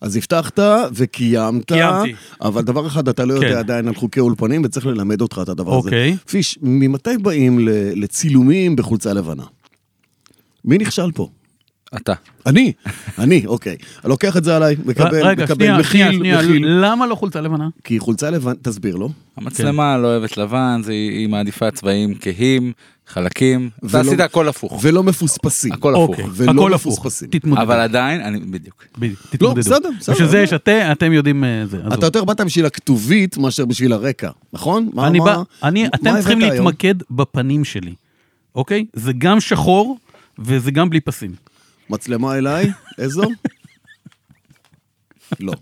אז הבטחת וקיימת, קיימתי. אבל דבר אחד אתה לא יודע כן. עדיין על חוקי אולפנים וצריך ללמד אותך את הדבר אוקיי. הזה. פיש, ממתי באים ל- לצילומים בחולצה לבנה? מי נכשל פה? אתה. אני, אני, אוקיי. אני לוקח את זה עליי, מקבל, רגע, מקבל, שנייה, שנייה, מכיל, שנייה, מכיל. למה לא חולצה לבנה? כי חולצה לבנה, תסביר לו. המצלמה לא אוהבת לבן, זה- היא מעדיפה צבעים כהים, חלקים. אתה ולא- עשית הכל הפוך. ולא מפוספסים. הכל הפוך. אוקיי, ולא הכל הפוך, מפוספסים. לא, תתמודדו. אבל עדיין, אני, בדיוק. בדיוק, תתמודדו. בסדר, בסדר. בשביל זה יש אתם, אתם יודעים אה, זה. עזוב. אתה יותר באת בשביל הכתובית מאשר בשביל הרקע, נכון? מה- אני מה- בא, אני, מה אתם צריכים הבאת היום? להתמקד בפנים שלי, אוקיי? זה גם שחור וזה גם בלי פסים. מצלמה אליי, איזו? לא,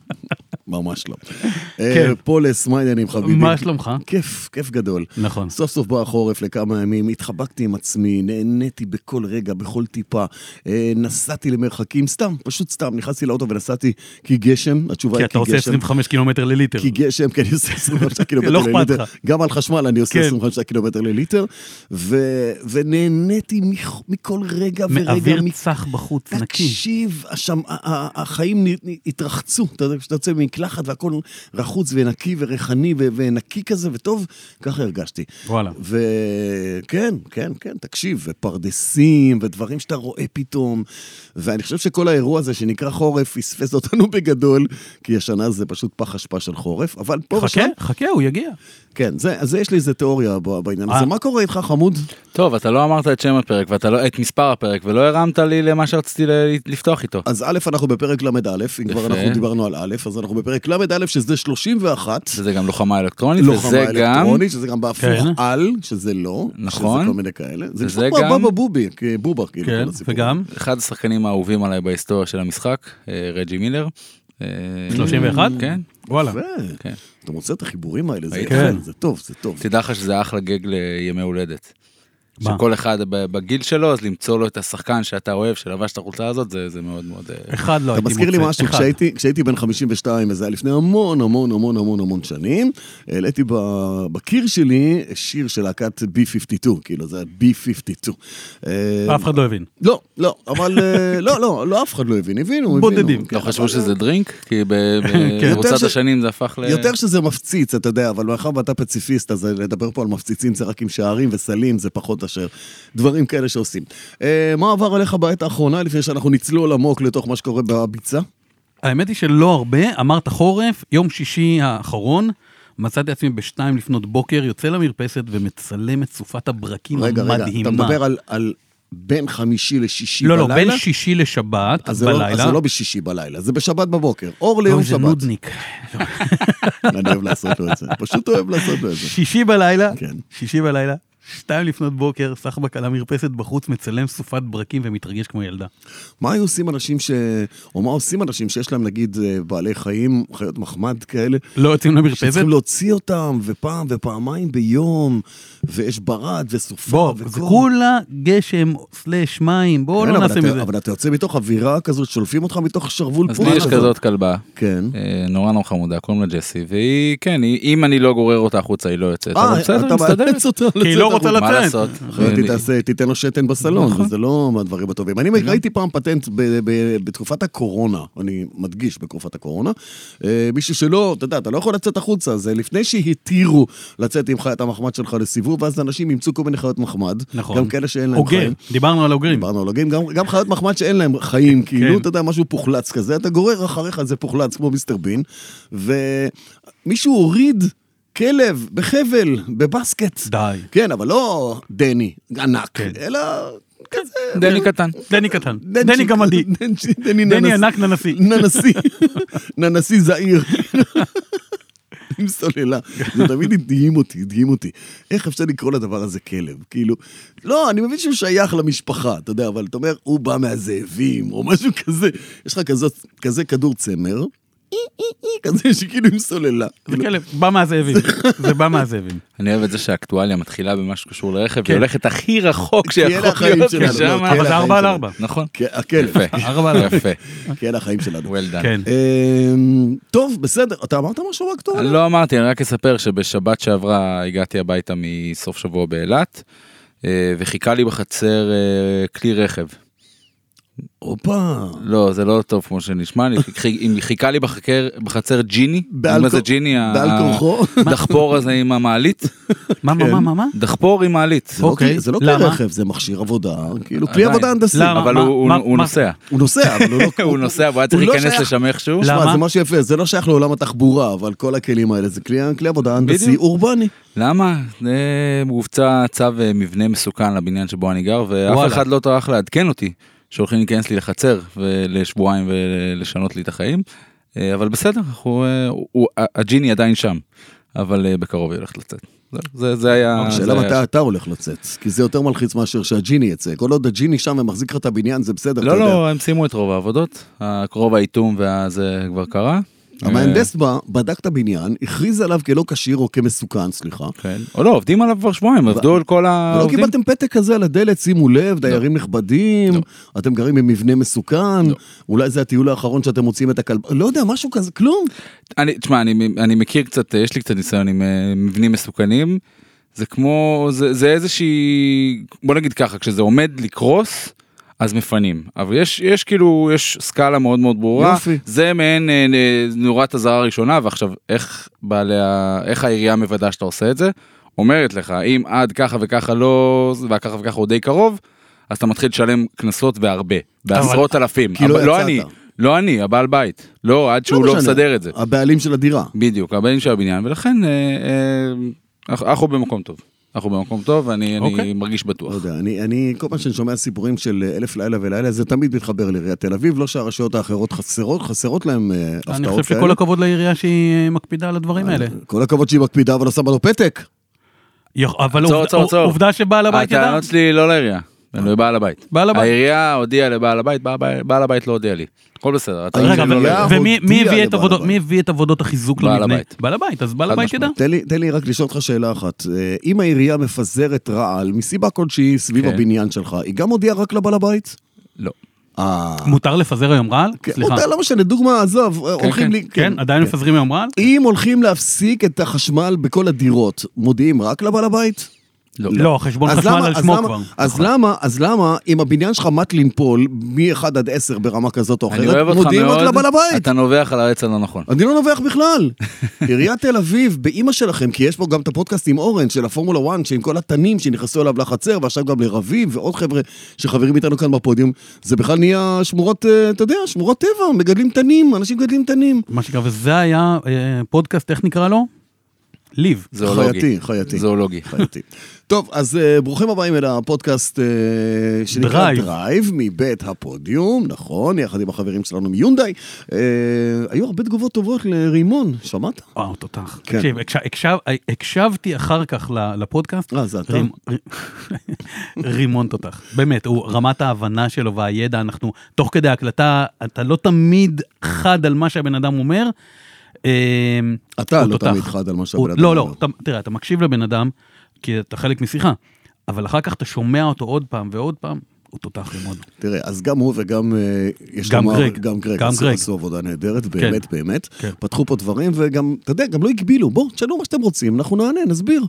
ממש לא. כן. כן. פולס, מה העניינים חביבי? מה שלומך? כיף, כיף גדול. נכון. סוף סוף בא החורף לכמה ימים, התחבקתי עם עצמי, נהניתי בכל רגע, בכל טיפה. אה, נסעתי למרחקים, סתם, פשוט סתם, נכנסתי לאוטו ונסעתי כי גשם, התשובה כי היא אתה כי עושה גשם. 25 קילומטר לליטר. כי גשם, כי אני עושה 25 קילומטר לא אכפת לליטר. לך. גם על חשמל אני עושה כן. 25 קילומטר לליטר. ו- ונהניתי מכ- מכל רגע ורגע. מאוויר מ- צח בחוץ, נקי. תקשיב, השם, ה- ה- החיים נ- נ- התרחצו, אתה יודע, כשאתה יוצא ממקלחת והכל רחוץ ונקי וריחני ו- ונקי כזה וטוב, ככה הרגשתי. וואלה. וכן, כן, כן, תקשיב, ופרדסים, ודברים שאתה רואה פתאום, ואני חושב שכל האירוע הזה שנקרא חורף, פספס אותנו בגדול, כי השנה זה פשוט פח אשפה של חורף, אבל פה חכה, ושם, חכה, הוא יגיע. כן, זה, אז יש לי איזה תיאוריה ב- בעניין אה. הזה. מה קורה איתך, חמוד? טוב, אתה לא אמרת את שם הפרק, ואתה לא, את מספר הפרק, ולא הרמת לי למה שרציתי ל- לפתוח איתו. אז א', אנחנו בפרק ל"א, אם כבר יפה. אנחנו דיברנו על א', אז אנחנו בפרק ל"א, שזה 31. שזה גם לוחמה אלקטרונית, לוחמה וזה גם... אלקטרונית, שזה גם בהפוך כן. על, שזה לא, נכון. שזה כל מיני כאלה. זה וזה נשמע כמו גם- הבבא בובי, בובה, כאילו, כן, כל הסיפור. וגם? אחד השחקנים האהובים עליי בהיסטוריה של המשחק, אה, רג'י מילר. אה, 31? כן. וואלה. יפה. כן. אתה מוצא את החיבורים האלה, זה כן. ראית? יפה, זה טוב, זה טוב. תדע לך שזה אחלה גג לימי הולדת. מה? שכל אחד ב- בגיל שלו, אז למצוא לו את השחקן שאתה אוהב, שלבש את החולצה הזאת, זה זה מאוד מאוד... אה, אחד לא הייתי אתה מוצא. מזכיר לי משהו, אחד. כשהייתי- כשהייתי בן 52, וזה היה לפני המון המון המון המון המון שנים, העליתי ב- בקיר שלי שיר של להקת B52, כאילו זה היה B52. אה, אף אחד לא הבין. לא, לא, אבל אה, לא, לא, לא, אף אחד לא הבין, הבינו, הבינו. בודדים. כן, לא חשבו אבל- שזה דרינק? כי ב- כן. במרוצת יותר ש- השנים זה הפך ל... יותר שזה מפציץ, אתה יודע, אבל מאחר ואתה פציפיסט, אז אה, לדבר פה על מפציצים זה רק עם שערים וסלים, זה פחות אשר דברים כאלה שעושים. אה, מה עבר עליך בעת האחרונה, לפני שאנחנו נצלול עמוק לתוך מה שקורה בביצה? האמת היא שלא הרבה, אמרת חורף, יום שישי האחרון, מצאתי עצמי בשתיים לפנות בוקר, יוצא למרפסת ומצלם את סופת הברקים רגע, המדהימה. רגע, אתה מדבר על- על בין חמישי לשישי לא, בלילה? לא, בין שישי לשבת, אז זה לא- בלילה. אז זה לא בשישי בלילה, זה בשבת בבוקר, אור ליום אוי, זה שבת. נודניק. אני אוהב לעשות לו את זה, פשוט אוהב לעשות לו את זה. שישי בלילה, כן. שישי בלילה, שתיים לפנות בוקר, סחבק על המרפסת בחוץ, מצלם סופת ברקים ומתרגש כמו ילדה. מה היו עושים אנשים ש... או מה עושים אנשים שיש להם, נגיד, אה, בעלי חיים, חיות מחמד כאלה, לא יוצאים למרפסת? שצריכים להוציא אותם, ופעם ופעמיים ביום, ויש ברד וסופה בוא, זה כולה גשם סלאש מים, בואו כן, לא אבל נעשה אתה- מזה. אבל אתה יוצא מתוך אווירה כזאת, שולפים אותך מתוך שרוול אז לי יש כזה. כזאת כלבה, כן. אה, נורא נורא חמודה, קוראים לה ג'סי, והיא, כן, היא- אם אני לא גורר אותה החוצה, היא לא יוצאת. אבל אה, בסדר, אתה מסתדרת. מאלץ אותה לצאת. כי היא לא רוצה החוצה. לצאת. מה לעשות? אחרת היא תעשה- תיתן לו שתן בסלון, וזה לא מהדברים הטובים. אני ראיתי פעם פטנט ב- ב- בתקופת הקורונה, אני מדגיש בתקופת הקורונה, אה, מישהו שלא, אתה יודע, אתה לא יכול לצאת החוצה, אז אה, לפני שהתירו לצאת עם חיית המחמד שלך לסיבוב, ואז אנשים אימצו כל מיני חיות מחמד, נכון. גם כאלה שאין להם אוגר, חיים. דיברנו על אוגרים. דיברנו על הוגים, גם, גם חיות מחמד שאין להם חיים, כאילו, אתה יודע, משהו פוחלץ כזה, אתה גורר אחריך זה פוחלץ, כמו מיסטר בין, ומישהו הוריד כלב בחבל, בבסקט. די. כן, אבל לא דני, ענק, כן. אלא כזה... דני קטן. דני קטן, דנצ'יק. דני גמדי, דנצ'יק, דני דני ננסי. ענק ננסי. ננסי, ננסי זעיר. עם סוללה, זה תמיד הדהים אותי, הדהים אותי. איך אפשר לקרוא לדבר הזה כלב? כאילו, לא, אני מבין שהוא שייך למשפחה, אתה יודע, אבל אתה אומר, הוא בא מהזאבים, או משהו כזה. יש לך כזאת- כזה כדור צמר, אי, אי, אי, כזה שכאילו עם סוללה. זה כאילו, כלב, בא מהזאבים, זה בא מהזאבים. אני אוהב את זה שהאקטואליה מתחילה במה שקשור לרכב, כן. והיא הולכת הכי רחוק כי אלה שיכול החיים להיות שלנו, משם. לא, כי אלה אבל זה ארבע על שלנו. ארבע. נכון. כן, הכלב, יפה. ארבע על ארבע. יפה. כן, החיים שלנו. well done. אה, כן. אמ, טוב, בסדר, אתה אמרת משהו רק טוב? אני לא אמרתי, אני רק אספר שבשבת שעברה הגעתי הביתה מסוף שבוע באילת, אה, וחיכה לי בחצר אה, כלי רכב. הופה. לא, זה לא טוב כמו שנשמע לי. חי- אם חיכה לי בחקר, בחצר ג'יני, בעל מה זה כור- ג'יני? ה- בעל כורחו. הדחפור הזה עם המעלית, מה, מה, מה, מה, מה? דחפור עם מעלית. זה לא אוקיי, כלי- זה לא למה? כלי רכב, זה מכשיר עבודה, כאילו כלי עדיין. עבודה הנדסי. למה? אבל מה- הוא- הוא מה- הוא מה- נוסע. הוא נוסע, אבל הוא לא... הוא נוסע, והוא היה צריך הוא לא להיכנס שייך. לשם איכשהו. תשמע, למה? זה משהו יפה, זה לא שייך לעולם התחבורה, אבל כל הכלים האלה זה כלי, כלי עבודה הנדסי בדיוק. אורבני. למה? אה, הובצע צו אה, מבנה מסוכן לבניין שבו אני גר, ואף וואלה. אחד לא טרח לעדכן אותי שהולכים להיכנס לי לחצר לשבועיים ולשנות לי את החיים. אה, אבל בסדר, אנחנו, אה, הוא- הוא- הג'יני עדיין שם, אבל אה, בקרוב היא הולכת לצאת. זהו, זה- זה היה... אה, זה השאלה היה- מתי אוקיי, אתה הולך לצאת, כי זה יותר מלחיץ מאשר שהג'יני יצא. כל עוד הג'יני שם ומחזיק לך את הבניין, זה בסדר, אתה לא, יודע. לא, הם סיימו את רוב העבודות, רוב האיטום והזה כבר קרה. אה. המהנדס בא, בדק את הבניין, הכריז עליו כלא כשיר או כמסוכן, סליחה. כן. או לא, עובדים עליו כבר שבועיים, עבדו על כל ולא העובדים. לא לא. קיבלתם פתק כזה על הדלת, שימו לב, דיירים נכבדים, אתם גרים במבנה לא. מסוכן, אולי זה הטיול האחרון שאתם מוצאים את הכלב... לא יודע, משהו כזה, כלום. אני, תשמע, אני, אני מכיר קצת, יש לי קצת ניסיון עם אה, מבנים מסוכנים. זה כמו, זה, זה איזושהי, בוא נגיד ככה, כשזה עומד לקרוס, אז מפנים. אבל יש, יש כאילו, יש סקאלה מאוד מאוד ברורה. יופי. זה מעין אה, אה, נורת אזהרה ראשונה, ועכשיו, איך בעלי ה... איך העירייה מוודא שאתה עושה את זה? אומרת לך, אם עד ככה וככה לא, וככה וככה הוא די קרוב, אז אתה מתחיל לשלם קנסות והרבה, בעשרות אלפים. כי לא אבל- לא יצאת. אני, לא אני, הבעל בית. לא, עד שהוא לא משנה. מסדר את זה. לא. הבעלים של הדירה. בדיוק, הבעלים של הבניין, ולכן אה, אה, אנחנו- אנחנו במקום טוב. אנחנו במקום טוב, ואני אני אוקיי. מרגיש בטוח. לא יודע, אני, אני כל פעם שאני שומע סיפורים של אה, אלף לילה ולילה, זה תמיד מתחבר לעיריית תל אביב, לא שהרשויות האחרות חסרות, חסרות להם אה, הפתעות אני חושב כאלה. אה, שכל הכבוד לעירייה שהיא אה, מקפידה על הדברים האלה. כל הכבוד שהיא מקפידה, אבל לא שמה לו פתק. יכ- אבל עצור, עובדה- עצור, עצור. לא, עובדה שבעל הבית ידע. אה. הטענות שלי לא לעירייה, אלא לבעל הבית. בעל הבית. העירייה הודיעה לבעל הבית, בעל הבית- בעל הבית לא הודיע לי. הכל בסדר, הטענות רגע, שלי לא אבל- העירייה לעירייה. ומי מי הודיעה הביא את לבעל עבודות- הבית. מי הביא את עבודות החיזוק בעל למבנה? הבית. בעל הבית, אז בעל חד הבית ידע. תן לי, תן לי רק לשאול אותך שאלה אחת. אה, אם העירייה מפזרת רעל מסיבה כלשהי סביב כן. הבניין שלך, היא גם הודיעה רק לבעל הבית? לא. אה... מותר לפזר היום רעל? כן, סליחה. אותה, לא משנה, דוגמה, עזוב, אה, הולכים כן, לי... כן, עדיין מפזרים היום רעל? אם הולכים להפסיק את החשמל בכל הדירות, מודיעים רק לבעל הבית? לא, חשבון אז חשמל למה- על אז שמו למה- כבר. אז למה, אז למה, אם הבניין שלך מת לנפול מ-1 עד 10 ברמה כזאת או אני אוהב אחרת, אותך מודיעים רק לבעל מאוד, הבית? אתה נובח על העץ הלא נכון. אני לא נובח בכלל. עיריית תל אביב, באימא שלכם, כי יש פה גם את הפודקאסט עם אורן של הפורמולה 1, שעם כל התנים שנכנסו אליו לחצר, ועכשיו גם לרביב ועוד חבר'ה שחברים איתנו כאן בפודיום, זה בכלל נהיה שמורות, אה, אתה יודע, שמורות טבע, מגדלים תנים, אנשים מגדלים תנים. מה שנקרא, וזה היה אה, פודקאסט, איך נקרא לו? ליב. זואולוגי. חייתי, חייתי. זואולוגי. חייתי. טוב, אז אה, ברוכים הבאים אל הפודקאסט אה, שנקרא דרייב. דרייב מבית הפודיום, נכון, יחד עם החברים שלנו מיונדאי. אה, היו הרבה תגובות טובות לרימון, שמעת? וואו, תותח. כן. אה, תקשיב, הקש- הקשב- הקשבתי אחר כך ל- לפודקאסט. אה, זה אתה? רימ- ר- רימון תותח, באמת, הוא רמת ההבנה שלו והידע, אנחנו, תוך כדי ההקלטה, אתה לא תמיד חד על מה שהבן אדם אומר. אה, אתה הוא לא תותח. תמיד חד על מה שהבן הוא- אדם לא, אומר. לא, אתה- תראה, אתה מקשיב לבן אדם, כי אתה חלק משיחה, אבל אחר כך אתה שומע אותו עוד פעם ועוד פעם, הוא תותח רימון. תראה, אז גם הוא וגם, אה, יש גם לומר, גרג. גם גרג, גם עשו- גרג. עשו עבודה נהדרת, באמת, באמת. כן. פתחו פה דברים, וגם, אתה יודע, גם לא הגבילו, בואו, תשאלו מה שאתם רוצים, אנחנו נענה, נסביר.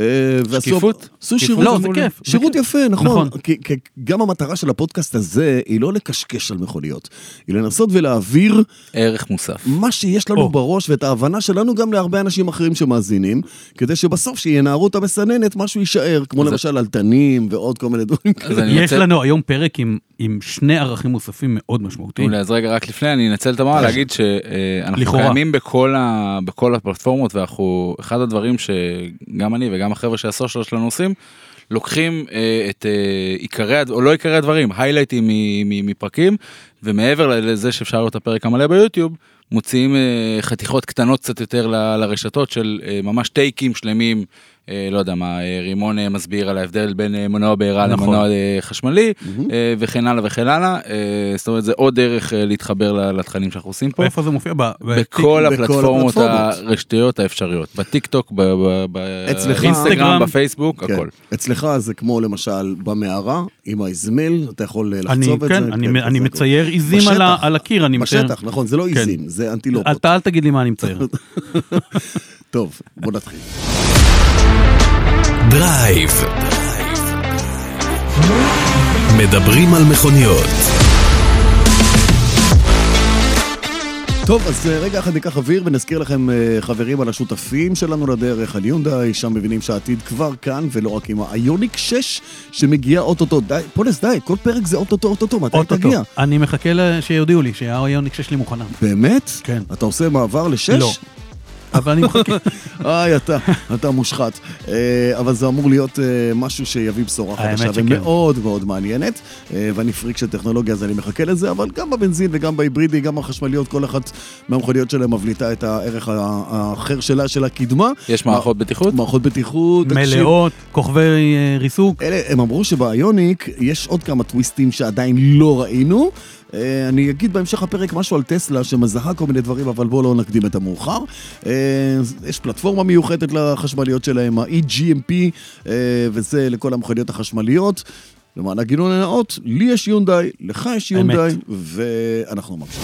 אה, ועשו- שקיפות? עשו שקיפות שירות. לא, זה כיף, זה שירות כיף. יפה, נכון. נכון. כי- כי גם המטרה של הפודקאסט הזה היא לא לקשקש על מכוניות, היא לנסות ולהעביר ערך מוסף. מה שיש לנו או. בראש ואת ההבנה שלנו גם להרבה אנשים אחרים שמאזינים, כדי שבסוף, שינערו את המסננת, משהו יישאר, כמו למשל על תנים ועוד כל מיני דברים כאלה. אז אני יש רוצה- לנו היום פרק עם- עם שני ערכים מוספים מאוד משמעותיים. מעולה, אוקיי, אז רגע, רק לפני, אני אנצל את הבמה להגיד שאנחנו אוקיי. כן. לכאורה. קיימים בכל, ה, בכל הפלטפורמות, ואנחנו, אחד הדברים שגם אני וגם החבר'ה שהסושיאל שלנו עושים, לוקחים אה, את אה, עיקרי, הד- או לא עיקרי הדברים, היילייטים מ- מ- מפרקים, ומעבר ל- לזה שאפשר לראות את הפרק המלא ביוטיוב, מוציאים אה, חתיכות קטנות קצת יותר ל- לרשתות של אה, ממש טייקים שלמים. אה, לא יודע מה, אה, רימון אה, מסביר על ההבדל בין אה, מנוע בעירה נכון. למנוע אה, חשמלי אה, וכן הלאה וכן הלאה. אה, זאת אומרת, זה עוד דרך אה, להתחבר ל- לתכנים שאנחנו עושים פה. איפה זה מופיע? ב- ב- בכל בכל הפלטפורמות הפלטפורמות. הרשתיות האפשריות, בטיק טוק, ב- ב- ב- אצלך. באינסטגרם, אינסטגרם. בפייסבוק, כן. הכל. אצלך זה כמו למשל במערה, עם האזמל, אתה יכול אה, לחצוב אני, את זה. כן, אני, זה אני הכל. מצייר עיזים על, ה, בשטח, על הקיר, אני מצייר. בשטח, נכון, זה לא כן. עיזים, זה אנטילופות. אתה אל תגיד לי מה אני מצייר. טוב, בוא נתחיל. דרייב. מדברים על מכוניות. טוב, אז אה, רגע אחד ניקח אוויר ונזכיר לכם, אה, חברים, על השותפים שלנו לדרך, על יונדאי, שם מבינים שהעתיד כבר כאן, ולא רק עם האיוניק 6 שמגיעה אוטוטו. די, פולס, די, כל פרק זה אוטוטו, אוטוטו, מתי אוטוטו. תגיע? אני מחכה ל- שיודיעו לי שהאויוניקס שלי מוכנה. באמת? כן. אתה עושה מעבר לשש? לא. אבל אני מחכה. איי, אתה, אתה מושחת. אה, אבל זה אמור להיות אה, משהו שיביא בשורה האמת חדשה שכן. ומאוד מאוד מעניינת. אה, ואני פריק של טכנולוגיה, אז אני מחכה לזה, אבל גם בבנזין וגם בהיברידי, גם החשמליות, כל אחת מהמכוניות שלהן מבליטה את הערך ה- האחר שלה, של הקדמה. יש מערכות בטיחות? מערכות בטיחות. תקשיב, מלאות, כוכבי אה, ריסוק. אלה, הם אמרו שבאיוניק יש עוד כמה טוויסטים שעדיין לא ראינו. אה, אני אגיד בהמשך הפרק משהו על טסלה שמזהה כל מיני דברים, אבל בואו לא נקדים את המאוחר. אה, יש פלטפורמה מיוחדת לחשמליות שלהם, ה-EGMP, אה, וזה לכל המכוניות החשמליות. למען הגינון הנאות, לי יש יונדאי, לך יש יונדאי, ואנחנו ממשיכים.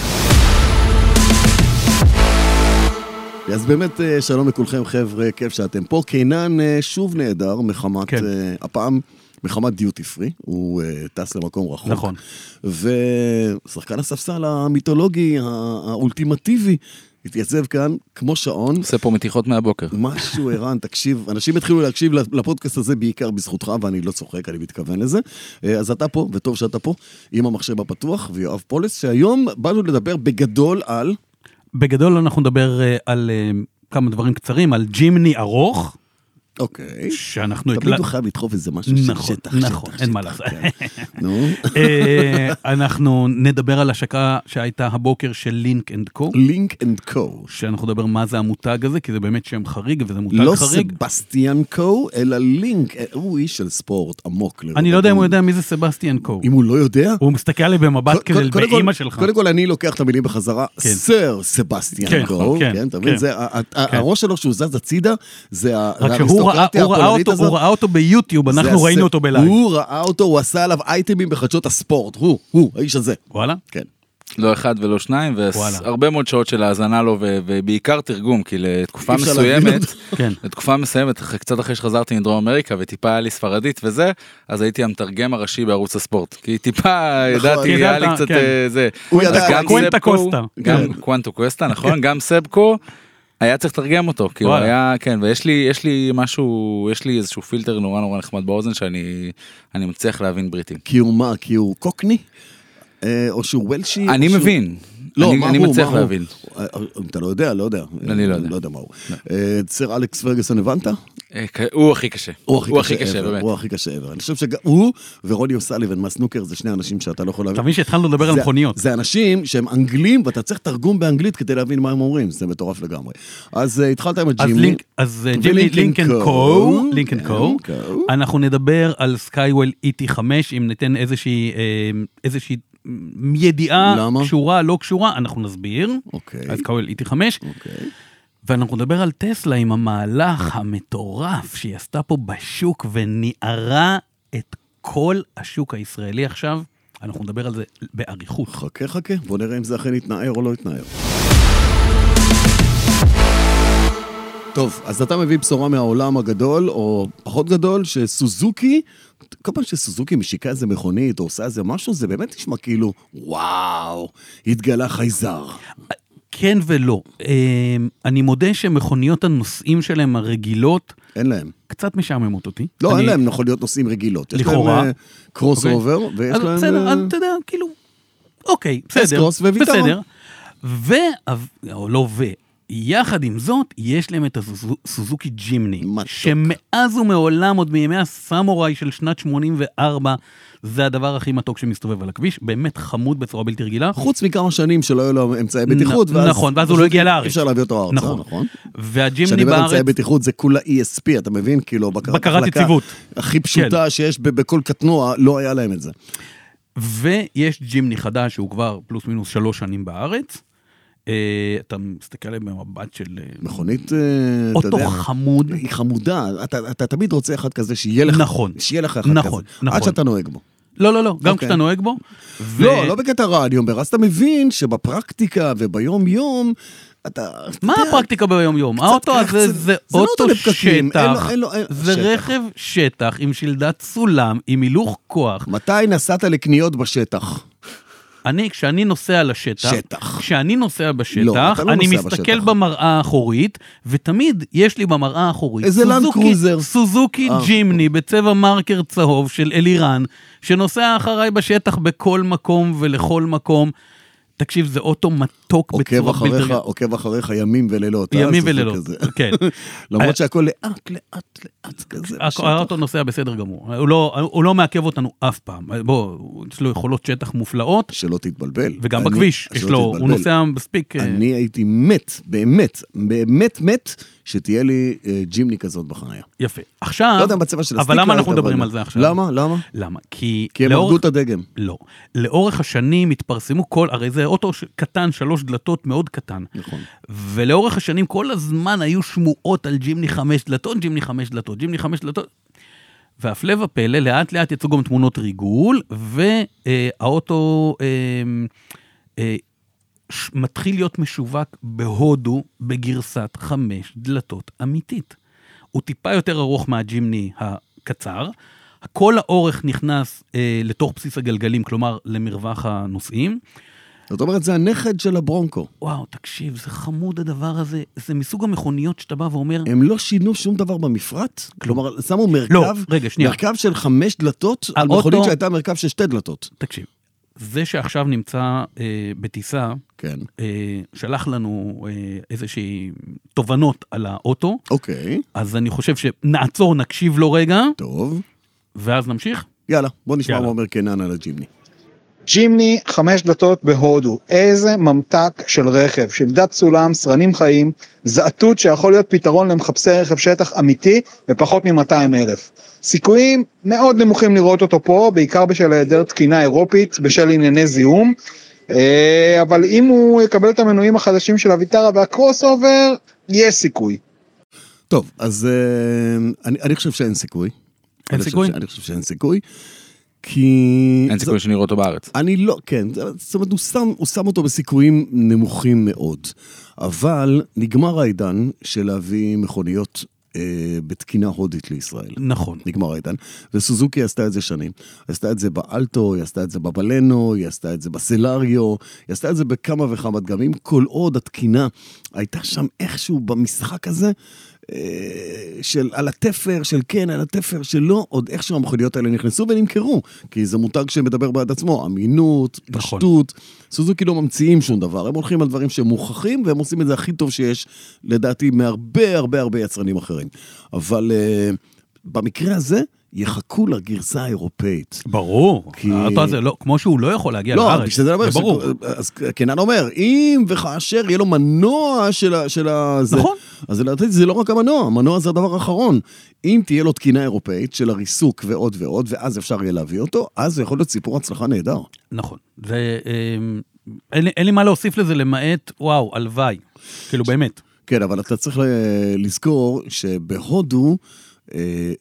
אז באמת, אה, שלום לכולכם, חבר'ה, כיף שאתם פה. קינן אה, שוב נהדר מחמת, כן. אה, הפעם מחמת דיוטי פרי, הוא אה, טס למקום רחוק. נכון. ושחקן הספסל המיתולוגי, הא- האולטימטיבי, התייצב כאן כמו שעון. עושה פה מתיחות מהבוקר. משהו, ערן, תקשיב, אנשים התחילו להקשיב לפודקאסט הזה בעיקר בזכותך, ואני לא צוחק, אני מתכוון לזה. אה, אז אתה פה, וטוב שאתה פה, עם המחשב הפתוח, ויואב פולס, שהיום באנו לדבר בגדול על... בגדול אנחנו נדבר אה, על אה, כמה דברים קצרים, על ג'ימני ארוך, אוקיי. שאנחנו... תמיד הקלט- הוא חייב לדחוף איזה משהו של נכון, שטח, נכון, שטח, אין שטח, מה לעשות. כן. נו, אה, אנחנו נדבר על השקה שהייתה הבוקר של לינק אנד קו, לינק אנד קו. שאנחנו נדבר מה זה המותג הזה, כי זה באמת שם חריג וזה מותג לא חריג. סבסטיאן קו, אלא לינק, הוא איש של ספורט עמוק. אני לא יודע אם הוא לרוב. יודע מי זה סבסטיאן קו. אם הוא לא יודע... הוא מסתכל עלי במבט קוד- כזה קודם כל- באימא שלך. קודם כל, אני לוקח את המילים בחזרה, כן. סר סבסטיאן כן, קו, נכון, כן, כן, אתה מבין? כן. זה ה- ה- הראש שלו שהוא זז הצידה, זה ה- רק שהוא ראה- האריסטוקרטיה הוא ראה הפולנית אותו- הזאת. הוא ראה אותו ביוטיוב, זה אנחנו ראינו הסר- אותו בלייב. הוא ראה אותו, הוא עשה עליו אייטמים בחדשות הספורט, הוא, הוא, האיש הזה. וואלה? כן. לא אחד ולא שניים, וואלה. והרבה מאוד שעות של האזנה לו, ו- ובעיקר תרגום, כי לתקופה אי אפשר להבין מסוימת, כן. לתקופה מסוימת, אחרי- קצת אחרי שחזרתי מדרום אמריקה וטיפה היה לי ספרדית וזה, אז הייתי המתרגם הראשי בערוץ הספורט. כי טיפה ידעתי, היה לי ידעת, קצת כן. אה, זה. הוא אז ידע. גם קוונטה סבקו- קוסטה. גם קוונטו קוסטה, נכון, גם סבקו. היה צריך לתרגם אותו, כי הוא וואלה. היה, כן, ויש לי, יש לי משהו, יש לי איזשהו פילטר נורא נורא נחמד באוזן שאני אני מצליח להבין בריטים. כי הוא מה, כי הוא קוקני? אה, או שהוא וולשי? או אני שהוא- מבין, לא, אני- מה אני הוא, מצליח מה הוא? להבין. אה, אה, אתה לא יודע, לא יודע. אני לא יודע. לא יודע מה הוא. אה, סר אלכס פרגוסון, הבנת? אה, ק- הוא הכי קשה, הוא הכי קשה, ever, באמת. הוא הכי קשה אה, ever. אני חושב שהוא ורוני אוסליבן מהסנוקר זה שני אנשים שאתה לא יכול אתה להבין. מבין שהתחלנו לדבר על זה- מכוניות. זה אנשים שהם אנגלים, ואתה צריך תרגום באנגלית כדי להבין מה הם אומרים, זה מטורף לגמרי. אז אה, התחלת עם אז הג'ימי. לינק, אז אה, ג'ימי ולינק אנד לינק אנד קו. קו, לינק אנד כן, קו, קו. אנחנו נדבר על סקייוול ET5, אם ניתן איזושהי, אה, איזושהי מ, ידיעה, למה? קשורה, לא קשורה, אנחנו נסביר, אוקיי. על סקייוול ET5, אוקיי. אה. ואנחנו נדבר על טסלה עם המהלך המטורף שהיא עשתה פה בשוק וניערה את כל השוק הישראלי עכשיו, אנחנו נדבר על זה באריכות. חכה, חכה, בוא נראה אם זה אכן יתנער או לא יתנער. טוב, אז אתה מביא בשורה מהעולם הגדול, או פחות גדול, שסוזוקי, כל פעם שסוזוקי משיקה איזה מכונית, או עושה איזה משהו, זה באמת נשמע כאילו, וואו, התגלה חייזר. כן ולא, אה, אני מודה שמכוניות הנוסעים שלהם הרגילות, אין להם. קצת משעממות אותי. לא, אני- אין להם מכוניות נוסעים רגילות. לכאורה. יש להם קרוס אוקיי. אובר, ויש אז להם... בסדר, אה, אז אתה יודע, כאילו, אוקיי, בסדר, S-Cross וויטרה. בסדר. ו... או לא ו... יחד עם זאת, יש להם את הסוזוקי ג'ימני, מתוק. שמאז ומעולם, עוד מימי הסמוראי של שנת 84, זה הדבר הכי מתוק שמסתובב על הכביש, באמת חמוד בצורה בלתי רגילה. חוץ מכמה שנים שלא היו להם אמצעי בטיחות, נ- נכון, ואז הוא פשוט לא הגיע לארץ. אפשר להביא אותו ארצה, נכון. נכון? כשאני והג'ימני מדבר על אמצעי בארץ, בטיחות זה כולה ESP, אתה מבין? כאילו, בקרת בקרת החלקה יציבות. כן. הכי פשוטה שיש ב- בכל קטנוע, לא היה להם את זה. ויש ג'ימני חדש שהוא כבר פלוס מינוס שלוש שנים בארץ. אה, אתה מסתכל עליהם במבט של... אה, מכונית, אה, אתה אותו יודע, חמוד. היא חמודה, אתה- אתה תמיד רוצה אחד כזה שיהיה לך, נכון. שיהיה לך אחד נכון, כזה, עד נכון. שאתה נוהג בו. לא, לא, לא, גם אוקיי. כשאתה נוהג בו. ו- לא, לא בקטע רע, אני אומר, אז אתה מבין שבפרקטיקה וביום-יום, אתה... מה אתה יודע, הפרקטיקה ביום-יום? האוטו קח, הזה זה- זה זה לא אוטו אוטו לפקקים, אין לו- שטח, אין לו- אין- זה שטח. רכב שטח עם שלדת סולם, עם הילוך כוח. מתי נסעת לקניות בשטח? אני, כשאני נוסע לשטח, שטח. כשאני נוסע בשטח, לא, אתה לא אני נוסע מסתכל בשטח. במראה האחורית, ותמיד יש לי במראה האחורית איזה לנד סוזוקי- קרוזר. סוזוקי אה. ג'ימני בצבע מרקר צהוב של אלירן, שנוסע אחריי בשטח בכל מקום ולכל מקום. תקשיב, זה אוטו מתוק עוקב בצורה בלתי אחריך, רגילה. עוקב אחריך ימים ולילות. אה? ימים זה ולילות, כזה. כן. למרות שהכל לאט, לאט, לאט כזה. בשטח. האוטו נוסע בסדר גמור, הוא לא, הוא לא מעכב אותנו אף פעם, בוא, יש לו יכולות שטח מופלאות, שלא תתבלבל. וגם אני- בכביש, יש שלא לו, תתבלבל. הוא נוסע מספיק, אה, אני הייתי מת, באמת, באמת מת, שתהיה לי אה, ג'ימני כזאת בחניה. יפה. עכשיו, לא יודע אם בצבע של הסטיקה. אה, אבל למה אנחנו הייתה, מדברים אבל- על זה עכשיו? למה? למה? למה? כי, כי הם הרגו את הדגם. לא. לאורך השנים התפרסמו כל, הרי זה אוטו ש- קטן, שלוש דלתות מאוד קטן. נכון. ולאורך השנים כל הזמן היו שמועות על ג'ימני חמש דלתות, ג'ימני חמש דלתות, ג'ימני חמש דלתות. והפלא ופלא, לאט לאט יצאו גם תמונות ריגול, והאוטו אה, אה, ש- מתחיל להיות משווק בהודו בגרסת חמש דלתות אמיתית. הוא טיפה יותר ארוך מהג'ימני הקצר. כל האורך נכנס אה, לתוך בסיס הגלגלים, כלומר למרווח הנוסעים. זאת אומרת, זה הנכד של הברונקו. וואו, תקשיב, זה חמוד הדבר הזה. זה מסוג המכוניות שאתה בא ואומר, הם לא שינו שום דבר במפרט? כלומר, שמו מרכב, לא, רגע, שנייה. אה, מרכב של חמש דלתות, על האוטו- מכונית שהייתה מרכב של שתי דלתות. תקשיב, זה שעכשיו נמצא אה, בטיסה, כן. אה, שלח לנו אה, איזושהי תובנות על האוטו, אוקיי, אז אני חושב שנעצור, נקשיב לו רגע, טוב. ואז נמשיך. יאללה, בוא נשמע יאללה. מה אומר קנן על הג'ימני. ג'ימני, חמש דלתות בהודו. איזה ממתק של רכב, שלדת סולם, סרנים חיים, זעתות שיכול להיות פתרון למחפשי רכב שטח אמיתי בפחות מ-200 אלף. סיכויים מאוד נמוכים לראות אותו פה, בעיקר בשל היעדר תקינה אירופית, בשל ענייני זיהום. אה, אבל אם הוא יקבל את המנועים החדשים של הוויטרה והקרוס אובר, יש סיכוי. טוב, אז אה, אני, אני חושב שאין סיכוי. אני חושב סיכוי? ש- אני חושב שאין סיכוי, כי... אין סיכוי שנראה אותו בארץ. אני לא, כן, זה- זאת אומרת, הוא שם, הוא שם אותו בסיכויים נמוכים מאוד. אבל נגמר העידן של להביא מכוניות אה, בתקינה הודית לישראל. נכון. נגמר העידן, וסוזוקי עשתה את זה שנים. היא עשתה את זה באלטו, היא עשתה את זה בבלנו, היא עשתה את זה בסלריו, היא עשתה את זה בכמה וכמה דגמים, כל עוד התקינה הייתה שם איכשהו במשחק הזה, אה, של על התפר, של כן, על התפר, של לא, עוד איכשהו המכוניות האלה נכנסו ונמכרו, כי זה מותג שמדבר בעד עצמו, אמינות, נכון. פשטות. סוזוקי לא ממציאים שום דבר, הם הולכים על דברים שמוכחים, והם עושים את זה הכי טוב שיש, לדעתי, מהרבה הרבה הרבה יצרנים אחרים. אבל אה, במקרה הזה, יחכו לגרסה האירופאית. ברור. כי- האוטו הזה, לא, כמו שהוא לא יכול להגיע לא, לארץ, בשביל זה אני אומר, זה ברור. שכל- אז קנן אומר, אם וכאשר יהיה לו מנוע של ה... של ה- זה- נכון. אז לדעתי זה לא רק המנוע, המנוע זה הדבר האחרון. אם תהיה לו תקינה אירופאית של הריסוק ועוד ועוד, ואז אפשר יהיה להביא אותו, אז זה יכול להיות סיפור הצלחה נהדר. נכון. זה... אה, אין לי- אין לי מה להוסיף לזה למעט, וואו, הלוואי. כאילו, באמת. כן, אבל אתה צריך ל- לזכור שבהודו, אה,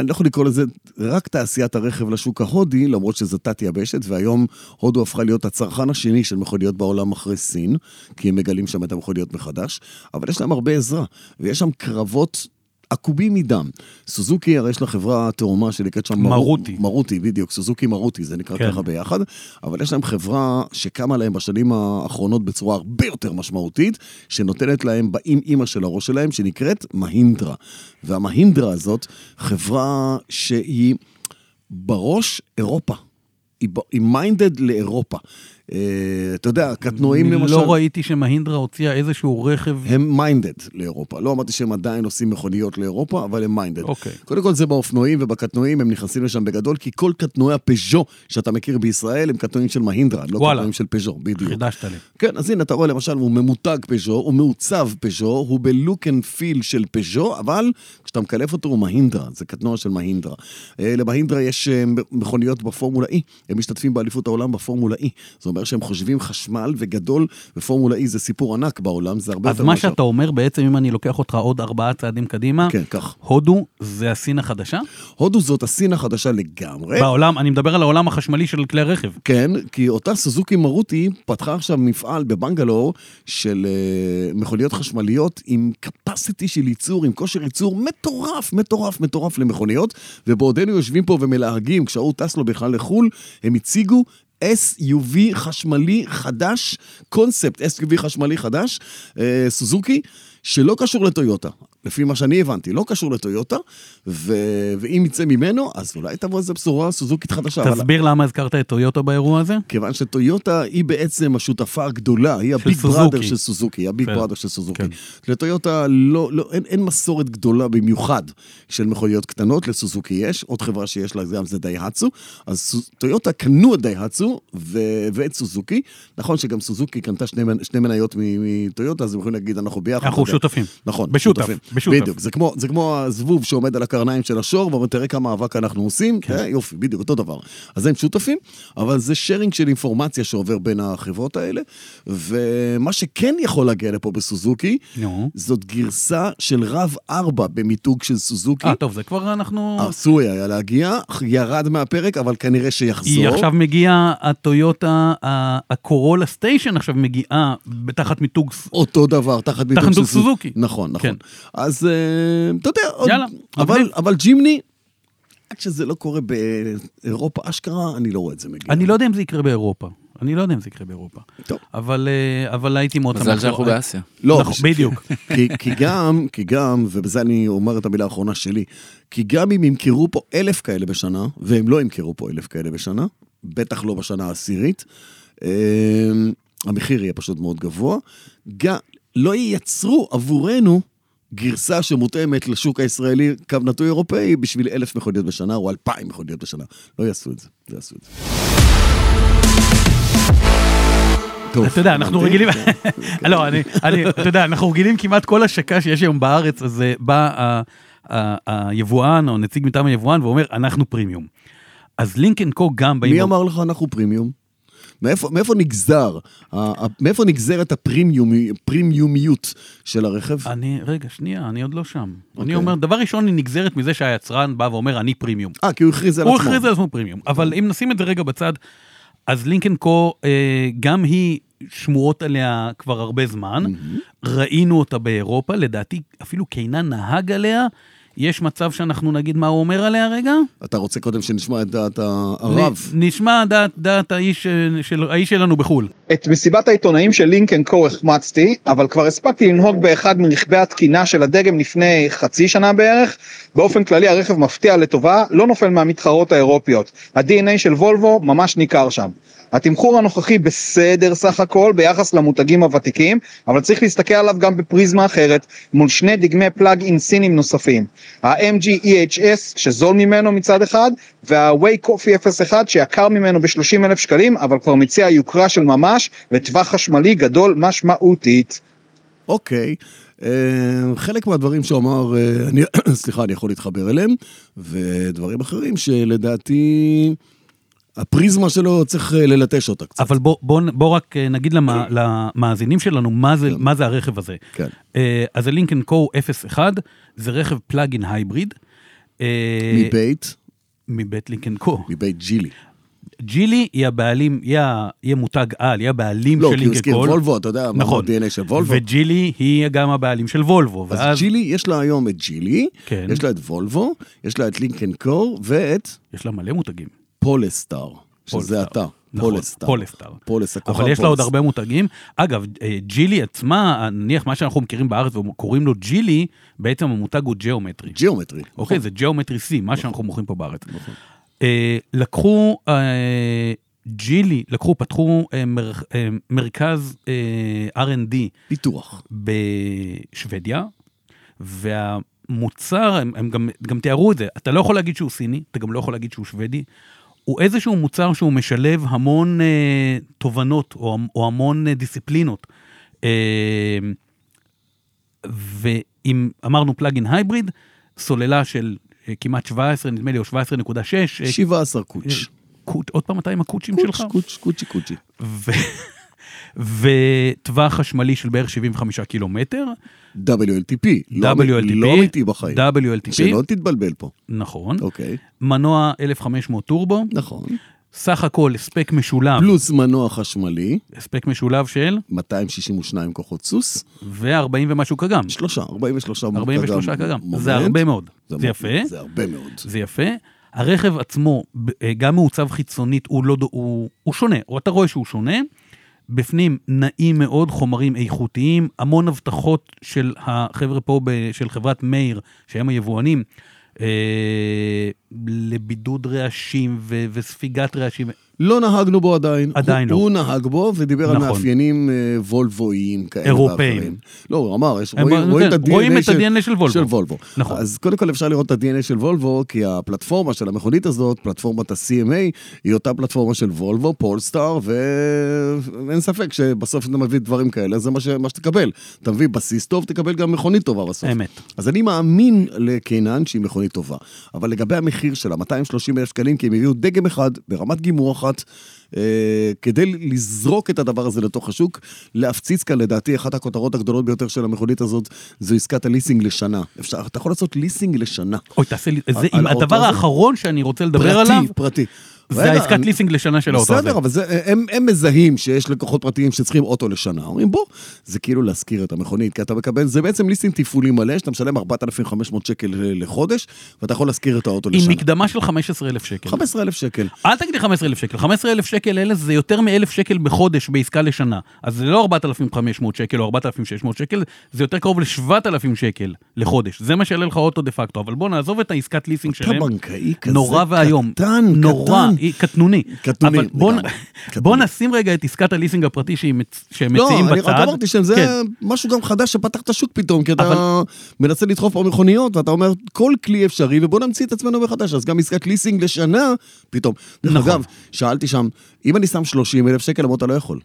אני לא יכול לקרוא לזה רק תעשיית הרכב לשוק ההודי, למרות שזו תת-יבשת, והיום הודו הפכה להיות הצרכן השני של מכוניות בעולם אחרי סין, כי הם מגלים שם את המכוניות מחדש, אבל יש להם הרבה עזרה, ויש שם קרבות עקובים מדם. סוזוקי, הרי יש לה חברה תאומה שנקראת שם מרו- מרותי. מרותי, בדיוק, סוזוקי מרותי, זה נקרא כן. ככה ביחד, אבל יש להם חברה שקמה להם בשנים האחרונות בצורה הרבה יותר משמעותית, שנותנת להם באים אימא של הראש שלהם, שנקראת מהינדרה. והמהינדרה הזאת, חברה שהיא בראש אירופה. היא ב- היא מיינדד לאירופה. אה, אתה יודע, קטנועים למשל... לא ראיתי שמהינדרה הוציאה איזשהו רכב הם מיינדד לאירופה. לא אמרתי שהם עדיין עושים מכוניות לאירופה, אבל הם מיינדד. אוקיי. קודם כל זה באופנועים ובקטנועים, הם נכנסים לשם בגדול, כי כל קטנועי הפז'ו שאתה מכיר בישראל הם קטנועים של מהינדרה, לא וואלה. קטנועים של פז'ו, בדיוק. חידשת לי. כן, אז הנה, אתה רואה למשל, הוא ממותג פז'ו, הוא מעוצב פז'ו, הוא בלוק אנד פיל של פז'ו, אבל כשאתה מקלף אותו הוא מהינדרה, זה קטנוע של מהינדרה. אה, למהינדרה יש אה, מכוניות בפורמולה E, הם משתתפים באליפות העולם בפורמולה E. זה אומר שהם חושבים חשמל וגדול, ופורמולה E זה סיפור ענק בעולם, זה הרבה אז יותר מה מאשר... שאתה אומר בעצם, אם אני לוקח אותך עוד ארבעה צעדים קדימה, כן, אה. כך. הודו זה הסין החדשה? הודו זאת הסין החדשה לגמרי. בעולם, אני מדבר על העולם החשמלי של כלי רכב. כן, כי אותה סוזוקי מרותי פתחה עכשיו מפעל בבנגלור של אה, מכוניות חשמליות עם capacity של ייצור, עם כושר ייצור מטורף, מטורף, מטורף למכוניות, ובעודנו יושבים פה ומלהגים, כשההוא טס לו בכלל לחו"ל, הם הציגו SUV חשמלי חדש, קונספט SUV חשמלי חדש, אה, סוזוקי, שלא קשור לטויוטה. לפי מה שאני הבנתי, לא קשור לטויוטה, ו... ואם יצא ממנו, אז אולי תבוא איזה בשורה סוזוקית חדשה. אבל תסביר למה הזכרת את טויוטו באירוע הזה? כיוון שטויוטה היא בעצם השותפה הגדולה, היא הביג סוזוקי. בראדר של סוזוקי, היא הביג כן. בראדר של סוזוקי. כן. לטויוטה לא, לא, אין, אין מסורת גדולה במיוחד של מכוניות קטנות, לסוזוקי יש, עוד חברה שיש לה גם זה דייהצו, אז סוז- טויוטה קנו את דייהצו ו, ואת סוזוקי, נכון שגם סוזוקי קנתה שני, מנ- שני מניות מ- מטויוטה, אז הם יכולים להגיד אנחנו ביחד. אנחנו אתה יודע." שותפים. נכון, בשותף, שותפים. בשותף. בדיוק, זה כמו, זה כמו הזבוב שעומד על הקרניים של השור, ואומר, תראה כמה אבק אנחנו עושים, כן. אה, יופי, בדיוק, אותו דבר. אז הם שותפים, אבל זה שיירינג של אינפורמציה שעובר בין החברות האלה, ומה שכן יכול להגיע לפה בסוזוקי, נו. זאת גרסה של רב ארבע במיתוג של סוזוקי. אה, טוב, זה כבר אנחנו... אסור היה להגיע, ירד מהפרק, אבל כנראה שיחזור. היא עכשיו מגיעה, הטויוטה, ה- הקורולה סטיישן עכשיו מגיעה תחת מיתוג... ס- אותו דבר, תחת ביטוח תחת דוד סוזוקי. נכון, נכון. כן. אז אה, אתה יודע, עוד- יאללה, אבל, מגניב. אבל ג'ימני, עד שזה לא קורה באירופה אשכרה, אני לא רואה את זה מגיע. אני לא יודע אם זה יקרה באירופה. אני לא יודע אם זה יקרה באירופה. טוב. אבל, אה, אבל הייתי מאוד מזל שאנחנו באסיה. לא, נכון, בדיוק. כי, כי גם, כי גם, ובזה אני אומר את המילה האחרונה שלי, כי גם אם ימכרו פה אלף כאלה בשנה, והם לא ימכרו פה אלף כאלה בשנה, בטח לא בשנה העשירית, אה, המחיר יהיה פשוט מאוד גבוה, גם, לא ייצרו עבורנו גרסה שמותאמת לשוק הישראלי, קו נטוי אירופאי, בשביל אלף מכוניות בשנה או אלפיים מכוניות בשנה. לא יעשו את זה, לא יעשו את זה. טוב, אתה יודע, אנחנו הבנתי. רגילים, כן. לא, אני, אני- אתה יודע, אנחנו רגילים כמעט כל השקה שיש היום בארץ, אז אה, בא ה- ה- היבואן או נציג מטעם היבואן ואומר, אנחנו פרימיום. אז לינקן קו גם באים... מי אמר לך אנחנו פרימיום? מאיפה, מאיפה נגזר, ה- ה- מאיפה נגזרת הפרימיומי- הפרימיומיות של הרכב? אני, רגע, שנייה, אני עוד לא שם. אוקיי. אני אומר, דבר ראשון, היא נגזרת מזה שהיצרן בא ואומר, אני פרימיום. אה, כי הוא הכריז על הוא עצמו. הכריז על עצמו פרימיום, אבל אם נשים את זה רגע בצד, אז לינקן קו, אה, גם היא, שמועות עליה כבר הרבה זמן, ראינו אותה באירופה, לדעתי אפילו קיינן נהג עליה, יש מצב שאנחנו נגיד מה הוא אומר עליה רגע? אתה רוצה קודם שנשמע את דעת הרב? נ- נשמע דעת, דעת האיש, אה, של, האיש שלנו בחו"ל. את מסיבת העיתונאים של לינקן קו החמצתי, אבל כבר הספקתי לנהוג באחד מרכבי התקינה של הדגם לפני חצי שנה בערך. באופן כללי הרכב מפתיע לטובה, לא נופל מהמתחרות האירופיות. ה-DNA של וולבו ממש ניכר שם. התמחור הנוכחי בסדר סך הכל ביחס למותגים הוותיקים, אבל צריך להסתכל עליו גם בפריזמה אחרת, מול שני דגמי פלאג אין סינים נוספים. ה-MG EHS שזול ממנו מצד אחד, וה-Way Coffee 01 שיקר ממנו ב-30 אלף שקלים, אבל כבר מציע יוקרה של ממש וטווח חשמלי גדול משמעותית. אוקיי. אה, חלק מהדברים שאמר, אה, אני, סליחה, אני יכול להתחבר אליהם, ודברים אחרים שלדעתי, הפריזמה שלו צריך אה, ללטש אותה קצת. אבל בוא, בוא, בוא רק אה, נגיד למה, למאזינים שלנו מה זה, מה זה הרכב הזה. כן. אה, אז זה לינקן קו 01, זה רכב פלאגין הייבריד. אה, מבית, מבית לינקן קו. מבית ג'ילי. ג'ילי היא הבעלים, היא ה- היא המותג על, היא הבעלים לא, של כי הוא לינקן הזכיר קול. וולבו, אתה יודע, מה נכון. ה-DNA של וולבו. וג'ילי היא גם הבעלים של וולבו. אז ואז ג'ילי, יש לה היום את ג'ילי, כן. יש לה את וולבו, יש לה את לינקן קור ואת יש לה מלא מותגים. פולסטאר, פולסטאר. שזה אתה, נכון, פולסטאר. פולסטאר. פולס, הכוכב אבל יש לה עוד פולס. הרבה מותגים. אגב, אה, ג'ילי עצמה, נניח מה שאנחנו מכירים בארץ וקוראים לו ג'ילי, בעצם המותג הוא ג'יאומטרי. ג'יאומטרי. אוקיי, זה ג'יאומטרי C, מה שאנחנו מוכרים פה בארץ. נכון. אה, לקחו אה, ג'ילי, לקחו, פתחו אה, מר- אה, מרכז אה, R&D פיתוח. בשוודיה, והמוצר, הם, הם גם, גם תיארו את זה, אתה לא יכול להגיד שהוא סיני, אתה גם לא יכול להגיד שהוא שוודי, הוא איזשהו מוצר שהוא משלב המון אה, תובנות או, או המון אה, דיסציפלינות. אה, ואם אמרנו פלאגין הייבריד, סוללה של אה, כמעט 17, נדמה לי, או 17.6. אה, 17 קוץ'. קוט, עוד פעם אתה עם הקוצ'ים קוץ', שלך? קוץ', קוצ'י, קוצ'י. ו... וטווח חשמלי של בערך 75 קילומטר, WLTP. לא אמ- WLTP, לא אמיתי בחיים. WLTP, שלא תתבלבל פה. נכון, אוקיי, מנוע 1500 טורבו, נכון. סך הכל הספק משולב, פלוס מנוע חשמלי, הספק משולב של, 262 כוחות סוס, ו-40 ומשהו קגם, שלושה, 43 מורכב. 43 קגם, מומנט. כן, זה הרבה מאוד, מ- זה יפה, זה הרבה מאוד. זה יפה. הרכב עצמו, ב- אה, גם מעוצב חיצונית, הוא, לא, דו- הוא, הוא שונה, או אתה רואה שהוא שונה. בפנים נעים מאוד, חומרים איכותיים, המון הבטחות של החבר'ה פה, ב, של חברת מאיר, שהם היבואנים, אה, לבידוד רעשים ו, וספיגת רעשים. לא נהגנו בו עדיין. עדיין הוא, לא. הוא נהג בו ודיבר נכון. נכון. על מאפיינים אה, וולבואיים כאלה. אירופאים. ואחרים. לא, הוא אמר, יש, הם רואים, אמרו, רואים כן, את ה-DNA רואים את של, ה-DNA של וולבו. של וולבו. נכון. אז קודם כל אפשר לראות את ה-DNA של וולבו, כי הפלטפורמה של המכונית הזאת, פלטפורמת ה-CMA, היא אותה פלטפורמה של וולבו, פולסטאר, ואין ספק שבסוף אתה מביא דברים כאלה, זה מה, ש... מה שתקבל. אתה מביא בסיס טוב, תקבל גם מכונית טובה בסוף. אמת. אז אני מאמין לקינן שהיא מכונית טובה, אבל לגבי המחיר שלה, 230 אלף שקלים, כי הם הביאו דגם אחד ברמת גימור אחת, אה, כדי לזרוק את הדבר הזה לתוך השוק, להפציץ כאן לדעתי אחת הכותרות הגדולות ביותר של המכונית הזאת, זו עסקת הליסינג לשנה. אפשר, אתה יכול לעשות ליסינג לשנה. אוי, תעשה לי, זה על עם האוטו הדבר הזה? האחרון שאני רוצה לדבר עליו, פרטי, פרטי. זה רגע, העסקת אני- ליסינג לשנה של האוטו הזה. בסדר, אבל זה, הם, הם מזהים שיש לקוחות פרטיים שצריכים אוטו לשנה. אומרים, בוא, זה כאילו להשכיר את המכונית, כי אתה מקבל, זה בעצם ליסינג תפעולי מלא, שאתה משלם 4,500 שקל אה, לחודש, ואתה יכול להשכיר את האוטו עם לשנה. מקדמה של 15,000 שקל. 15,000 שקל. אל תגיד לי 15,000 שקל, 15,000 שקל אלה זה יותר מ-1,000 שקל בחודש בעסקה לשנה. אז זה לא 4,500 שקל או 4,600 שקל, זה יותר קרוב ל-7,000 שקל לחודש. זה מה שיעלה לך אוטו דה פקטו, אבל בוא נעזוב את העסקת ליסינג אתה שלהם. בנקאי כזה נורא ואיום. קטן, נורא, קטן. היא קטנוני. קטנוני, אבל בוא, נ- לגמרי. בוא קטנוני. נשים רגע את עסקת הליסינג הפרטי שהיא מצ- שהם לא, מציעים אני בצד. רק אמרתי שזה כן. משהו גם חדש שפתח את השוק פתאום, כי אתה אבל- מנסה לדחוף פה מכוניות, ואתה אומר, כל כלי אפשרי, ובוא נמציא את עצמנו מחדש. אז גם עסקת ליסינג לשנה, פתאום. דרך נכון. אגב, שאלתי שם, אם אני שם 30 אלף שקל, אמרו, אתה לא יכול.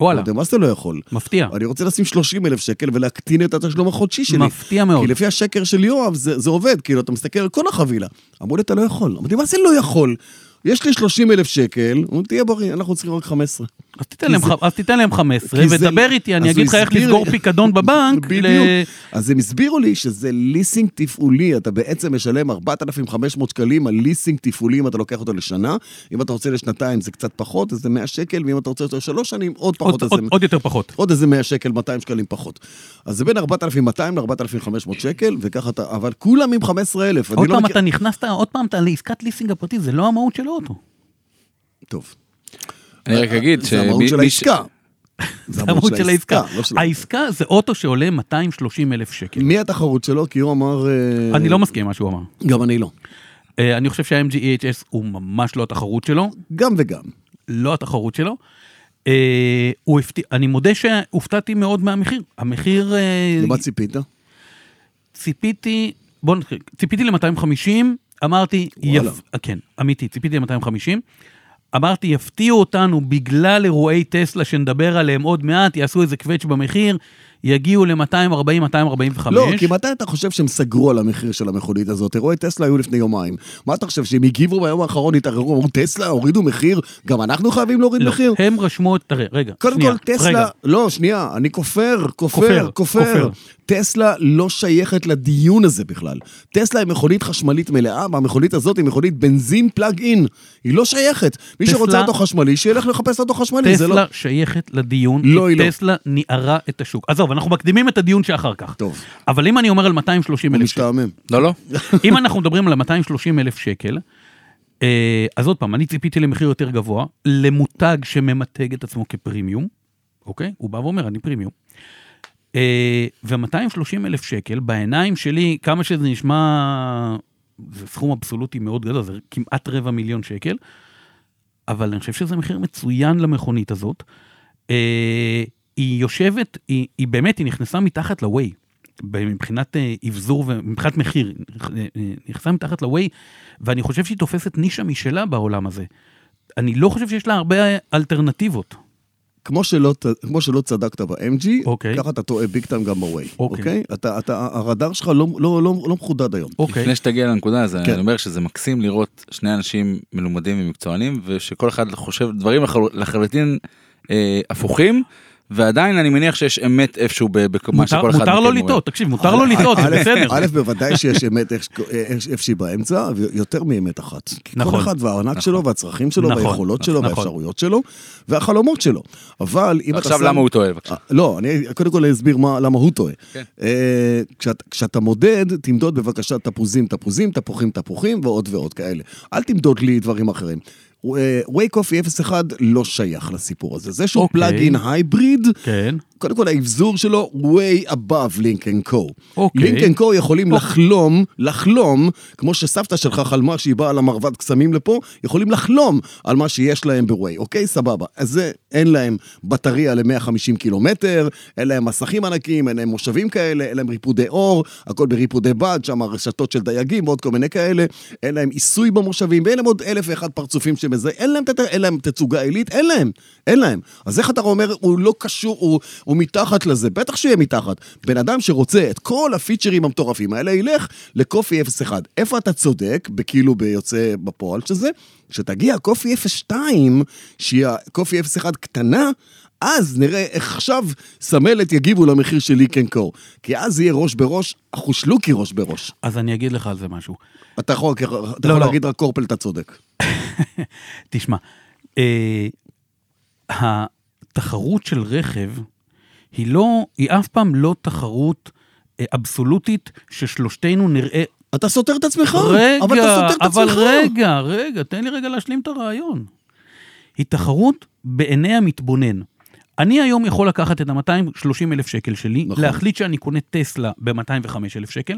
וואלה, אמרתי, מה זה לא יכול? מפתיע. אני רוצה לשים 30 אלף שקל ולהקטין את התשלום החודשי שלי. מפתיע מאוד. כי לפי השקר של יואב זה, זה עובד, כאילו, אתה מסתכל על כל החבילה. אמרו לי, אתה לא יכול. אמרתי, מה זה לא יכול? יש לי 30 אלף שקל, אמרו, תהיה בריא, אנחנו צריכים רק 15. אז תיתן להם זה- ח- אז תיתן להם 15, כי זה- ודבר איתי, אז אני הוא אגיד לך איך הסביר לי- לסגור פיקדון בבנק. ל- בדיוק. אז הם הסבירו לי שזה ליסינג תפעולי, אתה בעצם משלם 4,500 שקלים על ליסינג תפעולי אם אתה לוקח אותו לשנה. אם אתה רוצה לשנתיים זה קצת פחות, אז זה 100 שקל, ואם אתה רוצה אותו לשלוש שנים, עוד עוד- פחות, אז עוד- זה עוד יותר פחות. עוד איזה 100 שקל, 200 שקלים פחות. אז זה בין 4,200 ל-4,500 שקל, וככה אתה, אבל כולם עם 15,000. אני עוד לא פעם מכיר- אתה נכנסת, עוד פעם אתה לעסקת ליסינג הפרטי, זה לא המהות של האוטו. טוב. אני רק אגיד אה, זה המהות שמי- של מי ש- העסקה. זה המהות של העסקה. לא של- העסקה זה אוטו שעולה 230 אלף שקל. מי התחרות שלו? כי הוא אמר... אה, אני לא מסכים עם מה שהוא אמר. גם אני לא. אה, אני חושב שה-MG EHS הוא ממש לא התחרות שלו, גם וגם. לא התחרות שלו. אה, הוא הפתיע, אני מודה שהופתעתי מאוד מהמחיר. המחיר... אה, למה ציפית? ציפיתי, בוא נתחיל, ציפיתי ל-250, אמרתי, וואלה. יפ... אה, כן, אמיתי, ציפיתי ל-250, אמרתי, יפתיעו אותנו בגלל אירועי טסלה שנדבר עליהם עוד מעט, יעשו איזה קווץ' במחיר, יגיעו ל-240-245. לא, כי מתי אתה חושב שהם סגרו על המחיר של המכונית הזאת? אירועי טסלה היו לפני יומיים. מה אתה חושב, שהם הגיבו ביום האחרון, התערערו, אמרו טסלה, הורידו מחיר, גם אנחנו חייבים להוריד לא, מחיר? הם רשמו את... תראה, רגע, קודם שנייה, כל, טסלה, רגע, לא, שנייה, אני כופר, כופר, כופר, כופר. כופר. טסלה לא שייכת לדיון הזה בכלל. טסלה היא מכונית חשמלית מלאה, והמכונית הזאת היא מכונית בנזין פלאג אין. היא לא שייכת. מי טסלה- שרוצה אוטו חשמלי, שילך לחפש אוטו חשמלי, זה טסלה לא... שייכת לדיון, לא, כי היא לא. טסלה ניערה את השוק. עזוב, אנחנו מקדימים את הדיון שאחר כך. טוב. אבל אם אני אומר על 230 הוא אלף שקל, משתעמם. לא לא. אוקיי. אם אנחנו מדברים על 230 אלף שקל, אה, אז עוד פעם, אני ציפיתי למחיר יותר גבוה, למותג שממתג את עצמו כפרימיום, אוקיי? הוא בא ואומר, אני פרימיום. ו-230 אלף שקל, בעיניים שלי, כמה שזה נשמע, זה סכום אבסולוטי מאוד גדול, זה כמעט רבע מיליון שקל, אבל אני חושב שזה מחיר מצוין למכונית הזאת. אה, היא יושבת, היא, היא באמת, היא נכנסה מתחת ל-way. מבחינת אה, אבזור ומבחינת מחיר, אה, אה, נכנסה מתחת ל-way, ואני חושב שהיא תופסת נישה משלה בעולם הזה. אני לא חושב שיש לה הרבה אלטרנטיבות. כמו שלא, ת- כמו שלא צדקת ב-MG, אוקיי. ככה אתה טועה ביג טיים גם ב-Way, אוקיי. אוקיי? אתה, אתה, הרדאר שלך לא, לא, לא, לא מחודד היום. אוקיי. לפני שתגיע לנקודה הזו, כן. אני אומר שזה מקסים לראות שני אנשים מלומדים ומקצוענים, ושכל אחד חושב דברים לחל- לחלוטין אה, הפוכים, ועדיין אני מניח שיש אמת איפשהו ב- במה מותר- שכל אחד מותר לו מכם רואה. לטעות, תקשיב, מותר לו לטעות, זה א', בסדר. א', בוודאי שיש אמת איך- איך- איפשהי באמצע, ויותר מאמת אחת. כי כל נכון. אחד והארנק שלו, והצרכים שלו, נכון, והיכולות שלו, נכון. והאפשרויות שלו, והחלומות שלו. אבל אם אתה שם... עכשיו למה הוא טועה בבקשה. אה, לא, אני קודם כל אסביר מה, למה הוא טועה. כן. אה, כשאת, כשאתה מודד, תמדוד בבקשה תפוזים, תפוזים, תפוחים, תפוחים ועוד ועוד כאלה. אל תמדוד לי דברים אחרים. אה, וייק אופי 01 לא שייך לסיפור הזה. זה שהוא אוקיי. פלאגין הייבריד, כן. קודם כל האבזור שלו way above לינקן קו. אוקיי. לינקן קו יכולים לחלום, לחלום, כמו שסבתא שלך חלמה שהיא באה למרבד קסמים לפה, יכולים לחלום על מה שיש להם בווי, אוקיי? סבבה. אז זה, אין להם בטריה ל-150 קילומטר, אין להם מסכים ענקים, אין להם מושבים כאלה, אין להם ריפודי אור, הכל בריפודי בד, שם הרשתות של דייגים ועוד כל מיני כאלה, אין להם עיסוי במושבים, ואין להם עוד אלף ואחד פרצופים שמזה, אין להם, תת- אין להם תצוגה עילית, אין להם, אין להם. אז איך אתה אומר, הוא לא קשור, הוא, הוא מתחת לזה, בטח שיהיה מתחת. בן אדם שרוצה את כל הפיצ'רים המטורפים האלה, ילך לקופי 01. איפה אתה צודק, בכאילו ביוצא בפועל של זה? כשתגיע קופי 02, שהיא הקופי 01 קטנה, אז נראה איך עכשיו סמלת יגיבו למחיר של ליקן קור. כי אז יהיה ראש בראש, אחושלוקי ראש בראש. אז אני אגיד לך על זה משהו. אתה יכול, אתה יכול לא. להגיד רק קורפל, אתה צודק. תשמע, אה, התחרות של רכב היא לא, היא אף פעם לא תחרות אה, אבסולוטית ששלושתנו נראה... אתה סותר את עצמך, רגע, נכון, אבל אתה סותר את אבל עצמך. רגע, רגע, תן לי רגע להשלים את הרעיון. היא תחרות בעיני המתבונן. אני היום יכול לקחת את ה-230 אלף שקל שלי, נכון. נכון. להחליט שאני קונה טסלה ב-205 אלף שקל,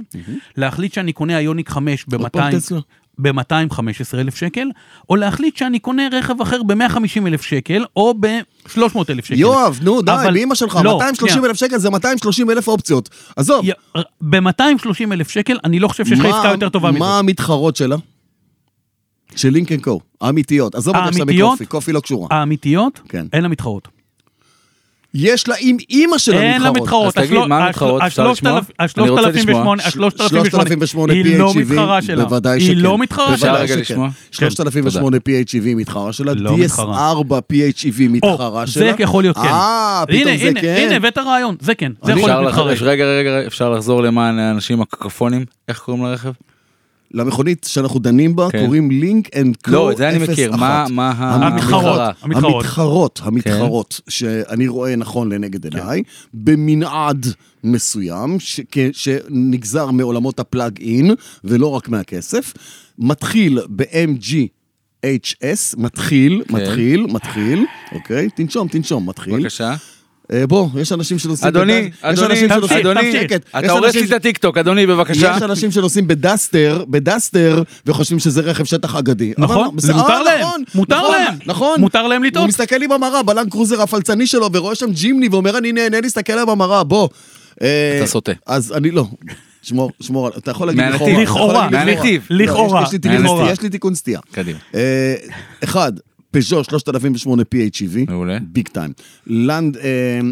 להחליט שאני קונה איוניק 5 ב-200... טסלה. ב-215 אלף שקל, או להחליט שאני קונה רכב אחר ב-150 אלף שקל, או ב-300 אלף שקל. יואב, נו, די, כן, אבל- באמא שלך, לא, 230 אלף שקל זה 230 אלף אופציות. עזוב, י- ב-230 אלף שקל, אני לא חושב שיש לך מה- עסקה יותר טובה מזאת. מה המתחרות שלה? של לינקן קו, האמיתיות. עזוב אותך עכשיו האמיתיות? מקופי, קופי לא קשורה. האמיתיות, כן. אין לה מתחרות. יש לה עם אימא שלה מתחרות. אין לה מתחרות. אז תגיד, השלו- מה השל- המתחרות? אפשר השלושת לשמוע? אלפ- אני רוצה לשמוע. ה-3008, ה-3008, 3008 היא לא PHEV, מתחרה שלה. E בוודאי שכן. היא לא מתחרה בוודאי שלה. אפשר כן. רגע שכן. לשמוע? 3008 PHEV E מתחרה שלה, לא מתחרה. DS4 PHEV E מתחרה או, שלה. זה יכול להיות כן. אה, הנה, פתאום זה הנה, כן. הנה, הבאת רעיון, זה כן. זה אני- יכול אפשר להיות לחזור, מתחרה. רגע רגע רגע, אפשר לחזור למען האנשים הקקופונים, איך קוראים לרכב? למכונית שאנחנו דנים בה כן. קוראים לינק אנד קו 01. לא, את זה אני מכיר, מה- מה כן. ה- המתחרות, המתחרות. המתחרות, המתחרות, שאני רואה נכון לנגד כן. עיניי, במנעד מסוים, ש- כ- שנגזר מעולמות הפלאג אין, ולא רק מהכסף, מתחיל ב-MG. HS, מתחיל, כן. מתחיל, מתחיל, אוקיי? תנשום, תנשום, מתחיל. בבקשה. אה, בוא, יש אנשים שנוסעים אדוני, בדס- יש אדוני, אנשים שנוסעים- אדוני, שקט. יש אתה הורס אנשים לי את הטיקטוק, אדוני בבקשה. יש אנשים שנוסעים בדסטר, בדסטר, וחושבים שזה רכב שטח אגדי. אבל נכון, לא, זה בסדר, מותר אה, להם, נכון, מותר נכון, להם, נכון. מותר להם לטעות. הוא מסתכל לי במראה, בלנד קרוזר הפלצני שלו, ורואה שם ג'ימני, ואומר, אני נהנה להסתכל עליו במראה, בוא. אה, אתה סוטה. אז אני לא. שמור, שמור, על- אתה יכול להגיד מהנתיב. לכאורה. אתה יכול לכאורה, להגיד מהנתיב. לא, יש- לכאורה, יש לי תיקון מהנתיב. סטייה, יש לי תיקון סטייה. קדימה. אה, אחד, פז'ו 3008 PHEV, מעולה. ביג טיים. לנד, אה,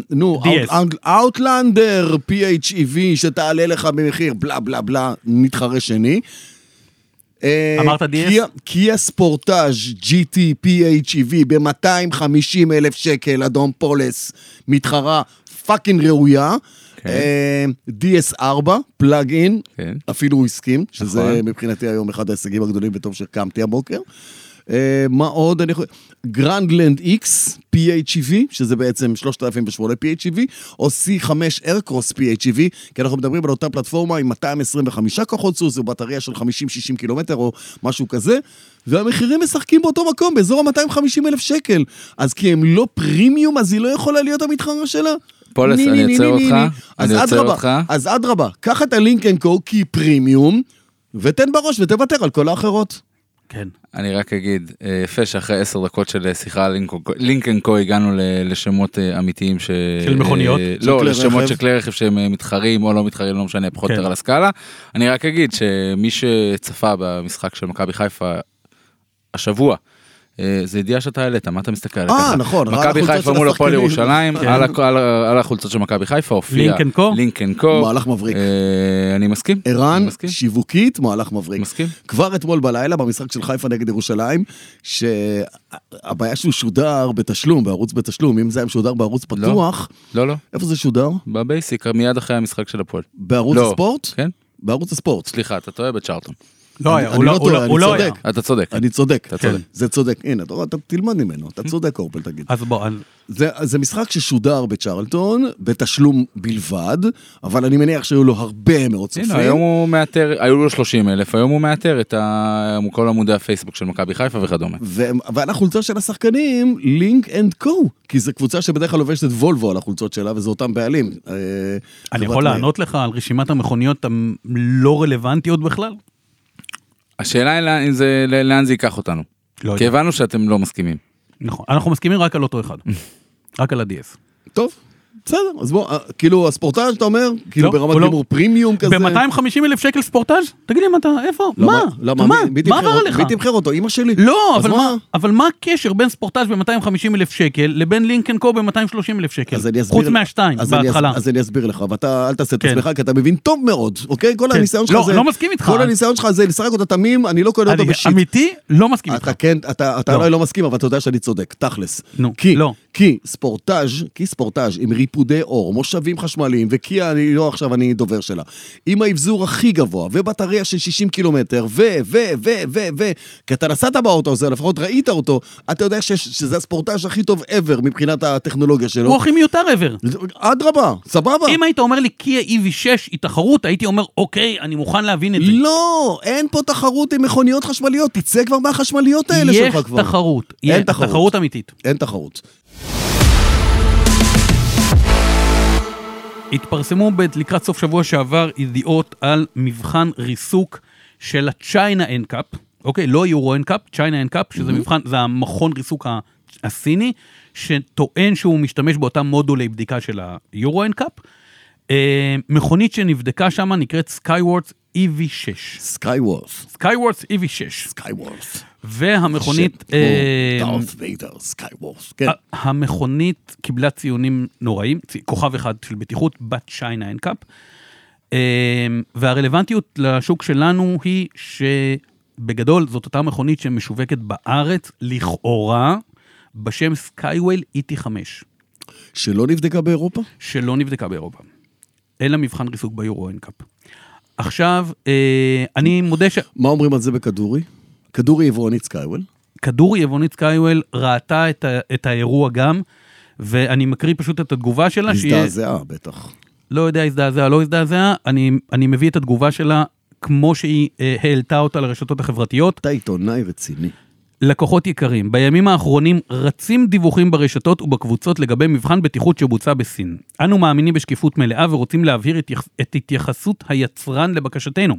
נו, DS. אאוט- אאוט- אאוטלנדר PHEV E שתעלה לך במחיר בלה בלה בלה, מתחרה שני. אה, אמרת DS? קיה- קיה ספורטאז' GT PHEV ב-250 אלף שקל, אדום פולס, מתחרה פאקינג ראויה. כן. אה, DS4, פלאג אין, כן. אפילו הוא הסכים, שזה נכון. מבחינתי היום אחד ההישגים הגדולים וטוב שקמתי הבוקר. אה, מה עוד אני יכול... גרנדלנד X PHEV, שזה בעצם 3008 PHEV, E או C5 Aircross PHEV, כי אנחנו מדברים על אותה פלטפורמה עם 225 כוחות סוס ובטריה של 50-60 קילומטר או משהו כזה, והמחירים משחקים באותו מקום, באזור ה-250 אלף שקל. אז כי הם לא פרימיום, אז היא לא יכולה להיות המתחרה שלה? פולס, ני, אני ני, ני, עוצר ני, אותך, ני. אני אז עוצר אדרבה, אותך. אז אדרבה, קח את הלינק אנד קו כי היא פרימיום, ותן בראש ותוותר על כל האחרות. כן. אני רק אגיד, אה, יפה שאחרי עשר דקות של אה, שיחה על לינקו- לינקן קו הגענו ל- לשמות אה, אמיתיים ש... של מכוניות? אה, של לא, כלי לשמות רכב? של כלי רכב שהם אה, מתחרים או לא מתחרים, לא משנה, פחות או כן. יותר על הסקאלה. אני רק אגיד שמי שצפה במשחק של מכבי חיפה השבוע, אה, זה ידיעה שאתה העלית, מה אתה מסתכל עליה? אה, ככה? נכון, ראה מכבי החולצות חיפה של מול הפועל השחקנים. ירושלים, כן. על הכ- על ה- על החולצות של מכבי חיפה הופיע. לינקן קו? לינקן קו. מהלך מבריק. אה, אני מסכים. ערן, אני מסכים. שיווקית, מהלך מבריק. מסכים. כבר אתמול בלילה, במשחק של חיפה נגד ירושלים, שהבעיה שהוא שודר בתשלום, בערוץ בתשלום, אם זה היה משודר בערוץ פתוח, לא, לא. איפה זה שודר? בבייסיק, מיד אחרי המשחק של הפועל. בערוץ לא. הספורט? כן? בערוץ הספורט. סליחה, אתה טועה בצ'ארלטון. לא היה, אני הוא לא לא- הוא טועה, לא- אני הוא לא היה. צודק. אתה צודק. אני צודק. אתה צודק. זה צודק, הנה, אתה רואה, אתה תלמד ממנו, אתה צודק, אורפל, תגיד. אז בוא, אז- זה, זה משחק ששודר בצ'רלטון, בתשלום בלבד, אבל אני מניח שהיו לו הרבה מאוד צופים. הנה, היום הוא מאתר, היו לו 30 אלף, היום הוא מאתר את ה- כל עמודי הפייסבוק של מכבי חיפה וכדומה. ו- ועל החולצה של השחקנים, לינק אנד קו, כי זו קבוצה שבדרך כלל לובשת את וולבו על החולצות שלה, וזה אותם בעלים. אה, אני חברת יכול מאיר. לענות לך על רשימת המכוניות הלא רלוונטיות בכלל? השאלה היא לאן- אם זה- לאן זה ייקח אותנו. לא כי יודע. הבנו שאתם לא מסכימים. נכון, אנחנו מסכימים רק על אותו אחד. רק על ה-DS. טוב, בסדר, אז בוא, אה, כאילו הספורטאז' אתה אומר, כאילו ברמת הוא לא. גימור פרימיום כזה. לא, ב-250 אלף שקל ספורטאז'? תגיד לי, מה אתה, איפה? למה- מה? למה? אתה מה? מי- מי מה תמחר עבר אותו? לך? מי תמחר אותו? אימא שלי? לא, אז אבל מה- אבל מה הקשר בין ספורטאז' ב-250 אלף שקל לבין לינקן קו ב-230 אלף שקל? אז אני אסביר. כן, חוץ מהשתיים, אז אני אס- בהתחלה. אז אני אסביר לך, ואתה אל תעשה את כן. עצמך, כי אתה מבין טוב מאוד, אוקיי? כל הניסיון שלך לא, זה... לא מסכים איתך. כל הניסיון שלך זה לשחק אותה תמים, אני לא קונה אני אותו בשיט. אמיתי, לא מסכים איתך. אתה כן, אתה אתה לא. אולי לא מסכים, אבל אתה יודע שאני צודק, תכלס. נו, כי, לא. כי ספורטאז', כי ספורטאז' עם ריפודי אור, מושבים חשמליים, וכי אני לא עכשיו, אני דובר שלה. עם האבזור הכי גבוה, ובטריה של 60 קילומטר, ו, ו, ו, ו, ו, כי אתה נסעת באוטו הזה, לפחות ראית אותו, אתה יודע ש, שזה הספורטאז' הכי טוב ever מבחינת הטכנולוגיה שלו. הוא הכי מיותר ever. לא. אדרבה, סבבה. אם היית אומר לי קיה EV6 היא תחרות, הייתי אומר, אוקיי, אני מוכן להבין את זה. לא, אין פה תחרות עם מכוניות חשמליות, תצא כבר מהחשמליות האלה יש שלך כבר. תחרות. אין יש תחרות. תחרות אמיתית. אין תחרות. התפרסמו ב- לקראת סוף שבוע שעבר ידיעות על מבחן ריסוק של ה-China NCAP, אוקיי? לא יורו NCAP, China NCAP, שזה מבחן, זה המכון ריסוק ה- הסיני, שטוען שהוא משתמש באותם מודולי בדיקה של היורו NCAP. אה, מכונית שנבדקה שם נקראת Skyworth EV6. סקייוורף. Skyworth EV6. סקייוורף. והמכונית... שם, אה, או, דארת ויידר, סקייוורף, כן. ה- המכונית קיבלה ציונים נוראים, צי- כוכב אחד של בטיחות, בת שיינה אנקאפ. והרלוונטיות לשוק שלנו היא שבגדול זאת אותה מכונית שמשווקת בארץ, לכאורה, בשם סקייווייל ET5, שלא נבדקה באירופה? שלא נבדקה באירופה. אלא מבחן ריסוק ביורו אנקאפ. עכשיו, אה, אני מודה ש... מה אומרים על זה בכדורי? כדורי יבואנית סקייוול. אה, כדורי יבונית סקייוול ראתה את, ה, את האירוע גם, ואני מקריא פשוט את התגובה שלה, שהיא הזדעזעה בטח. לא יודע, הזדעזעה, לא הזדעזעה, אני, אני מביא את התגובה שלה כמו שהיא אה, העלתה אותה לרשתות החברתיות. אתה עיתונאי רציני. לקוחות יקרים, בימים האחרונים רצים דיווחים ברשתות ובקבוצות לגבי מבחן בטיחות שבוצע בסין. אנו מאמינים בשקיפות מלאה ורוצים להבהיר את, יח- את התייחסות היצרן לבקשתנו.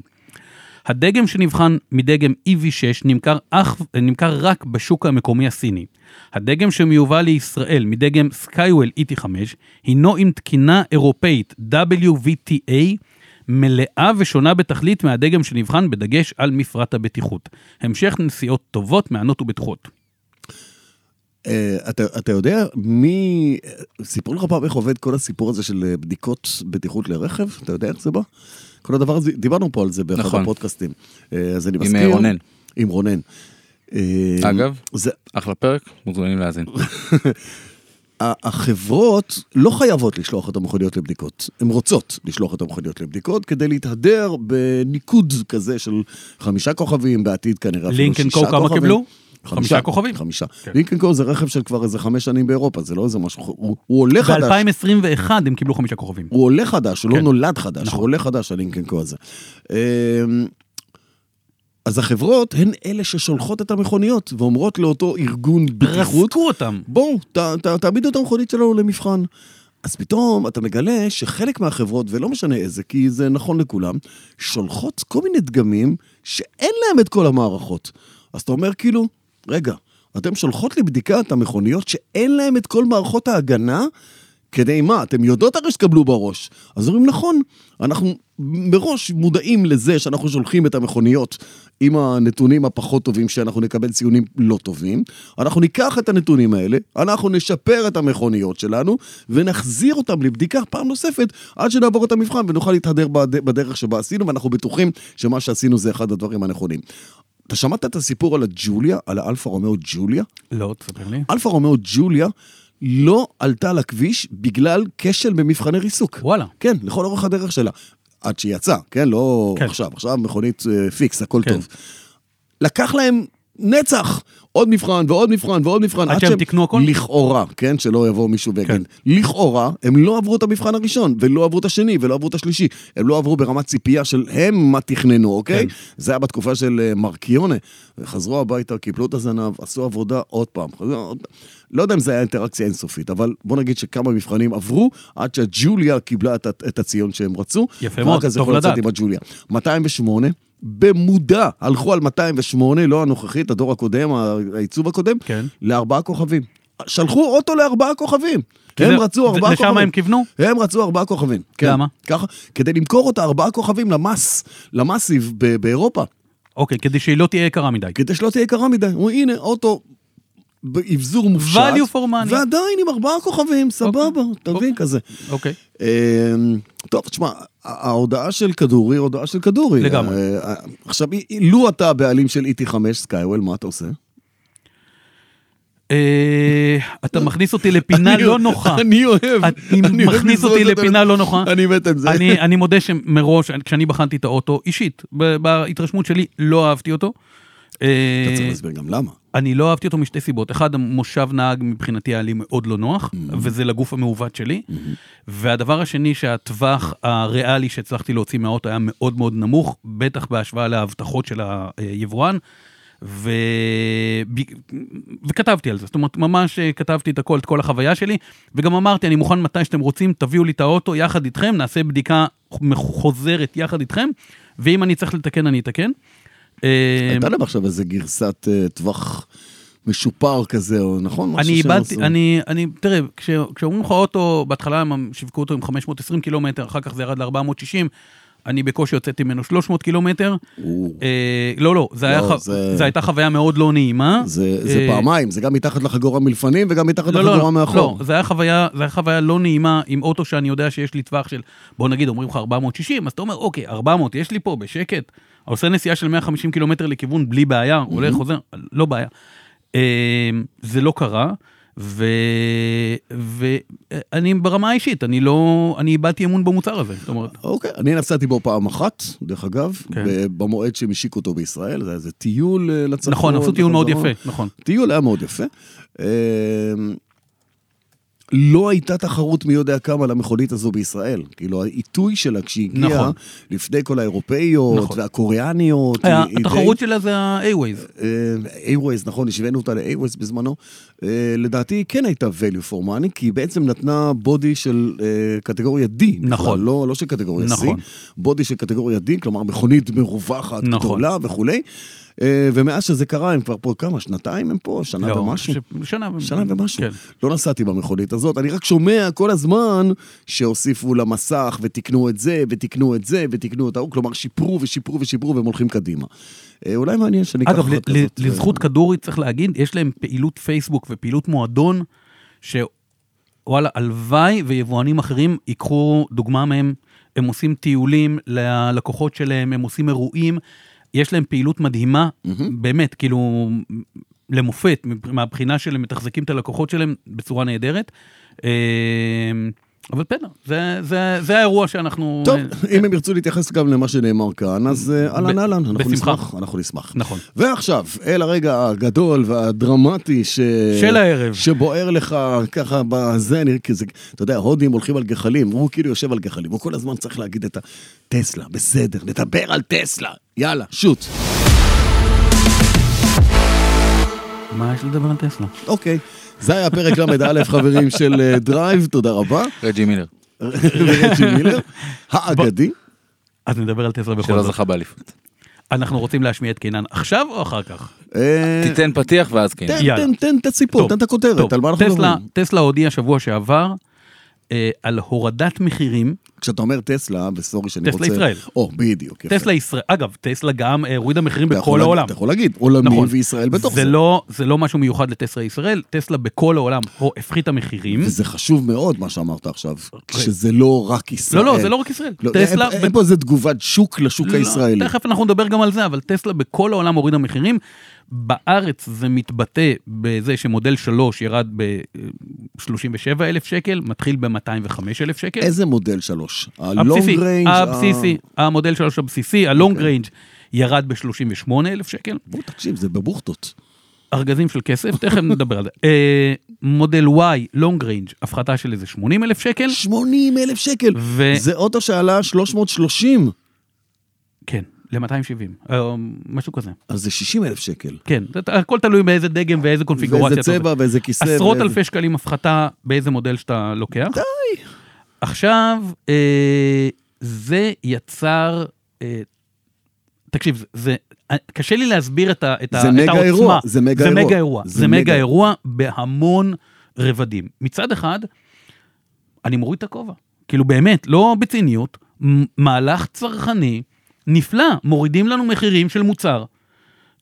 הדגם שנבחן מדגם EV6 נמכר, אך, נמכר רק בשוק המקומי הסיני. הדגם שמיובא לישראל מדגם Skywell ET5 הינו עם תקינה אירופאית WVTA מלאה ושונה בתכלית מהדגם שנבחן בדגש על מפרט הבטיחות. המשך נסיעות טובות, מענות ובטוחות. אה, אתה, אתה יודע מי... סיפרו לך פעם איך עובד כל הסיפור הזה של אה, בדיקות בטיחות לרכב? אתה יודע איך זה בא? כל הדבר הזה, דיברנו פה על זה באחד נכון. הפודקאסטים. אה, אז אני עם, מזכיר... אה, רונן. עם רונן. אה, אגב? זה, אחלה פרק, מוזמנים להאזין. ה- החברות לא חייבות לשלוח את המכוניות לבדיקות, הן רוצות לשלוח את המכוניות לבדיקות כדי להתהדר בניקוד כזה של חמישה כוכבים, בעתיד כנראה אפילו לינקן שישה קו כמה כוכבים. קיבלו? חמישה כוכבים. חמישה. כן. לינקן קו זה רכב של כבר איזה חמש שנים באירופה, זה לא איזה משהו, הוא, הוא עולה חדש. ב-2021 הם קיבלו חמישה כוכבים. הוא עולה חדש, הוא כן. לא נולד חדש, הוא עולה חדש, הלינקנקו הזה. אמ, אז החברות הן אלה ששולחות את המכוניות ואומרות לאותו ארגון בטיחות, רסקו אותם. בואו, ת- ת- תעמידו את המכונית שלנו למבחן. אז פתאום אתה מגלה שחלק מהחברות, ולא משנה איזה, כי זה נכון לכולם, שולחות כל מיני דגמים שאין להם את כל המערכות. אז אתה אומר כאילו, רגע, אתם שולחות לבדיקה את המכוניות שאין להם את כל מערכות ההגנה, כדי מה? אתם יודעות הרי שתקבלו בראש. אז אומרים, נכון, אנחנו מראש מודעים לזה שאנחנו שולחים את המכוניות עם הנתונים הפחות טובים, שאנחנו נקבל ציונים לא טובים. אנחנו ניקח את הנתונים האלה, אנחנו נשפר את המכוניות שלנו, ונחזיר אותם לבדיקה פעם נוספת, עד שנעבור את המבחן ונוכל להתהדר בד- בדרך שבה עשינו, ואנחנו בטוחים שמה שעשינו זה אחד הדברים הנכונים. אתה שמעת את הסיפור על הג'וליה, על האלפה רומאו ג'וליה? לא, תספר לי. אלפה רומאו ג'וליה לא עלתה לכביש בגלל כשל במבחני ריסוק. וואלה. כן, לכל אורך הדרך שלה. עד שהיא יצאה, כן? לא כן. עכשיו, עכשיו מכונית אה, פיקס, הכל כן. טוב. לקח להם נצח, עוד מבחן ועוד מבחן ועוד מבחן. עד שהם תיקנו הכל? לכאורה, כן? שלא יבוא מישהו ויגיד. כן. לכאורה, הם לא עברו את המבחן הראשון, ולא עברו את השני, ולא עברו את השלישי. הם לא עברו ברמת ציפייה של הם מה תכננו, אוקיי? כן. זה היה בתקופה של אה, מרקיונה. חזרו הביתה, קיבלו את הזנב, עשו עבודה עוד פעם. חזרו עוד- לא יודע אם זה היה אינטראקציה אינסופית, אבל בוא נגיד שכמה מבחנים עברו, עד שהג'וליה קיבלה את, ה- את הציון שהם רצו. יפה מאוד, ורק אז טוב יכול לצאת לדעת. עם הג'וליה. 208, במודע הלכו על 208, לא הנוכחית, הדור הקודם, ה- העיצוב הקודם, כן. לארבעה כוכבים. שלחו אוטו לארבעה כוכבים. כי הם זה- רצו ארבעה לשם כוכבים. הם כיוונו? הם רצו ארבעה כוכבים. כן. למה? ככה, כדי למכור אותה ארבעה כוכבים למס, למאסיב ב- באירופה. אוקיי, כדי שהיא לא תהיה יקרה מדי. כדי שלא תהיה יקרה מדי. אומרים, הנה, אוטו באבזור מופשט. Value for money. ועדיין עם ארבעה כוכבים, סבבה, אתה מבין כזה. אוקיי. אמ, טוב, תשמע, ה- ההודעה של כדורי, הודעה של כדורי. לגמרי. אה, אה, עכשיו, אי- אי- לו אתה הבעלים של ET5 סקייוול, מה אתה עושה? אה, אתה מכניס אותי לפינה אני- לא נוחה. אני אוהב. את אני אוהב מכניס לזרוק אותי אותה- לפינה לא נוחה. אני מת על זה. אני, אני מודה שמראש, כשאני בחנתי את האוטו, אישית, ב- בהתרשמות שלי, לא אהבתי אותו. אתה אה, צריך להסביר גם למה. אני לא אהבתי אותו משתי סיבות. אחד, המושב נהג מבחינתי היה לי מאוד לא נוח, וזה לגוף המעוות שלי. והדבר השני, שהטווח הריאלי שהצלחתי להוציא מהאוטו היה מאוד מאוד נמוך, בטח בהשוואה להבטחות של היבואן. ו... ב- וכתבתי על זה, זאת אומרת, ממש אה, כתבתי את הכל, את כל החוויה שלי, וגם אמרתי, אני מוכן מתי שאתם רוצים, תביאו לי את האוטו יחד איתכם, נעשה בדיקה חוזרת יחד איתכם, ואם אני צריך לתקן, אני אתקן. אה, הייתה להם עכשיו איזה גרסת אה, טווח משופר כזה, או נכון? משהו אני שהם איבדתי, עשו. אני, אני, תראה, כש- כשאומרים לך אוטו, בהתחלה הם שיווקו אותו עם 520 קילומטר, אחר כך זה ירד ל-460, אני בקושי הוצאתי ממנו 300 קילומטר. או, אה, לא, לא, זה היה, לא, ח... זה- זה... זה הייתה חוויה מאוד לא נעימה. זה זה אה, פעמיים, זה גם מתחת לחגורה מלפנים וגם מתחת לא, לא, לחגורה לא, מאחור. לא, זה היה חוויה, זה היה חוויה לא נעימה עם אוטו שאני יודע שיש לי טווח של, בוא נגיד, אומרים לך 460, אז אתה אומר, אוקיי, 400, יש לי פה, בשקט. עושה נסיעה של 150 קילומטר לכיוון בלי בעיה, הולך, חוזר, לא בעיה. אה, זה לא קרה, ואני ברמה האישית, אני לא, אני איבדתי אמון במוצר הזה, זאת אומרת, אוקיי, אני נסעתי בו פעם אחת, דרך אגב, כן. ב- במועד שהם השיקו אותו בישראל, זה היה איזה טיול אה, לצפון. נכון, עשו טיול מאוד לחזרה. יפה, נכון. טיול היה מאוד יפה. אמ, לא הייתה תחרות מי יודע כמה למכונית הזו בישראל. כאילו, העיתוי שלה כשהיא הגיעה, נכון. לפני כל האירופאיות נכון. והקוריאניות, היה- היא- היא די- אה, התחרות שלה זה ה-A-Waze. איירווייז, נכון, השווינו אותה לאיירווייז בזמנו. אה, לדעתי היא כן הייתה value for money, כי היא בעצם נתנה בודי של אה, קטגוריה D. בכלל, נכון. לא, לא של קטגוריה נכון. C. בודי של קטגוריה D, כלומר מכונית מרווחת, נכון. גדולה וכולי. אה, ומאז שזה קרה, הם כבר פה כמה, שנתיים הם פה, לא, שנה ומשהו. שנה, ו- שנה ומשהו. כן. לא נסעתי במכונית הזאת, אני רק שומע כל הזמן שהוסיפו למסך ותיקנו את זה, ותיקנו את זה, ותיקנו את ההוא, כלומר שיפרו ושיפרו ושיפרו והם הולכים קדימה. אה, אולי מעניין שאני אקח אגב, אחת ל- ל- כזאת, אה, לזכות כדורי צריך להגיד, יש להם פעילות פייסבוק ופעילות מועדון, שוואלה, הלוואי ויבואנים אחרים ייקחו דוגמה מהם, הם עושים טיולים ללקוחות שלהם, הם עושים אירועים, יש להם פעילות מדהימה, באמת, כאילו, למופת, מבח- מהבחינה של הם מתחזקים את הלקוחות שלהם בצורה נהדרת. אה, אבל בסדר, זה- זה- זה האירוע שאנחנו... טוב, אם הם ירצו להתייחס גם למה שנאמר כאן, אז אה, אהלן ב- אהלן, אנחנו בשמחה. נשמח, אנחנו נשמח. נכון. ועכשיו, אל הרגע הגדול והדרמטי ש... של הערב. שבוער לך ככה בזה, אני... כי זה, אתה יודע, הודים הולכים על גחלים, הוא כאילו יושב על גחלים, הוא כל הזמן צריך להגיד את הטסלה, בסדר, נדבר על טסלה, יאללה, שוט. מה יש לדבר על טסלה? אוקיי, זה היה פרק ל"א, חברים, של אה, דרייב, תודה רבה. רג'י מילר, ורג'י מילר, האגדי. אז נדבר על טסלה בכל שלא זאת. זכה באליפות. אנחנו רוצים להשמיע את קינן עכשיו או אחר כך? אה, תיתן פתיח ואז כן. תן, יאללה. תן, תן את הסיפור, טוב, תן את הכותרת, טוב, על מה אנחנו טסלה- מדברים. טסלה הודיעה שבוע שעבר אה, על הורדת מחירים. כשאתה אומר טסלה, וסורי שאני טסלה רוצה... ישראל. או, בדיוק. יפה. טסלה ישראל, אגב, טסלה גם אה, הורידה מחירים אתה יכול בכל להגיד- העולם. אתה יכול להגיד, עולמי נכון. וישראל בתוך זה. זה לא, זה לא משהו מיוחד לטסלה ישראל, טסלה בכל העולם הו- הפחיתה מחירים. וזה חשוב מאוד מה שאמרת עכשיו, שזה לא רק ישראל. אוקיי. לא, לא, זה לא רק ישראל. לא, טסלה... אין- אין פה איזה תגובת שוק לשוק לא, הישראלי. תכף אנחנו נדבר גם על זה, אבל טסלה בכל העולם הורידה מחירים. בארץ זה מתבטא בזה שמודל 3 ירד ב-37 אלף שקל, מתחיל ב-205 אלף שקל. איזה מודל שלוש? הבסיסי, ה-long range, אה. אוקיי. ה- הבסיסי, המודל 3 הבסיסי, הלונג ריינג' ירד ב-38 אלף שקל. בוא תקשיב, זה בבוכטות. ארגזים של כסף, תכף נדבר על זה. אה, מודל Y, לונג ריינג', הפחתה של איזה 80 אלף שקל. 80 אלף שקל. ו- זה אוטו שעלה 330, כן, ל-270, משהו כזה. אז זה 60 אלף שקל. כן, זה- הכל תלוי באיזה דגם ואיזה קונפיגורציה. ואיזה אתה עושה. צבע ואיזה כיסא. עשרות ואיזה- אלפי שקלים הפחתה באיזה מודל שאתה לוקח. די. עכשיו, אה, זה יצר, אה, תקשיב, זה- זה, אה, קשה לי להסביר את, ה, את, ה, זה את מגה העוצמה. אירוע, זה מגה זה אירוע. מגה אירוע. זה זה מגה מגה. אירוע בהמון רבדים. מצד אחד, אני מוריד את הכובע. כאילו באמת, לא בציניות, מ- מהלך צרכני נפלא, מורידים לנו מחירים של מוצר.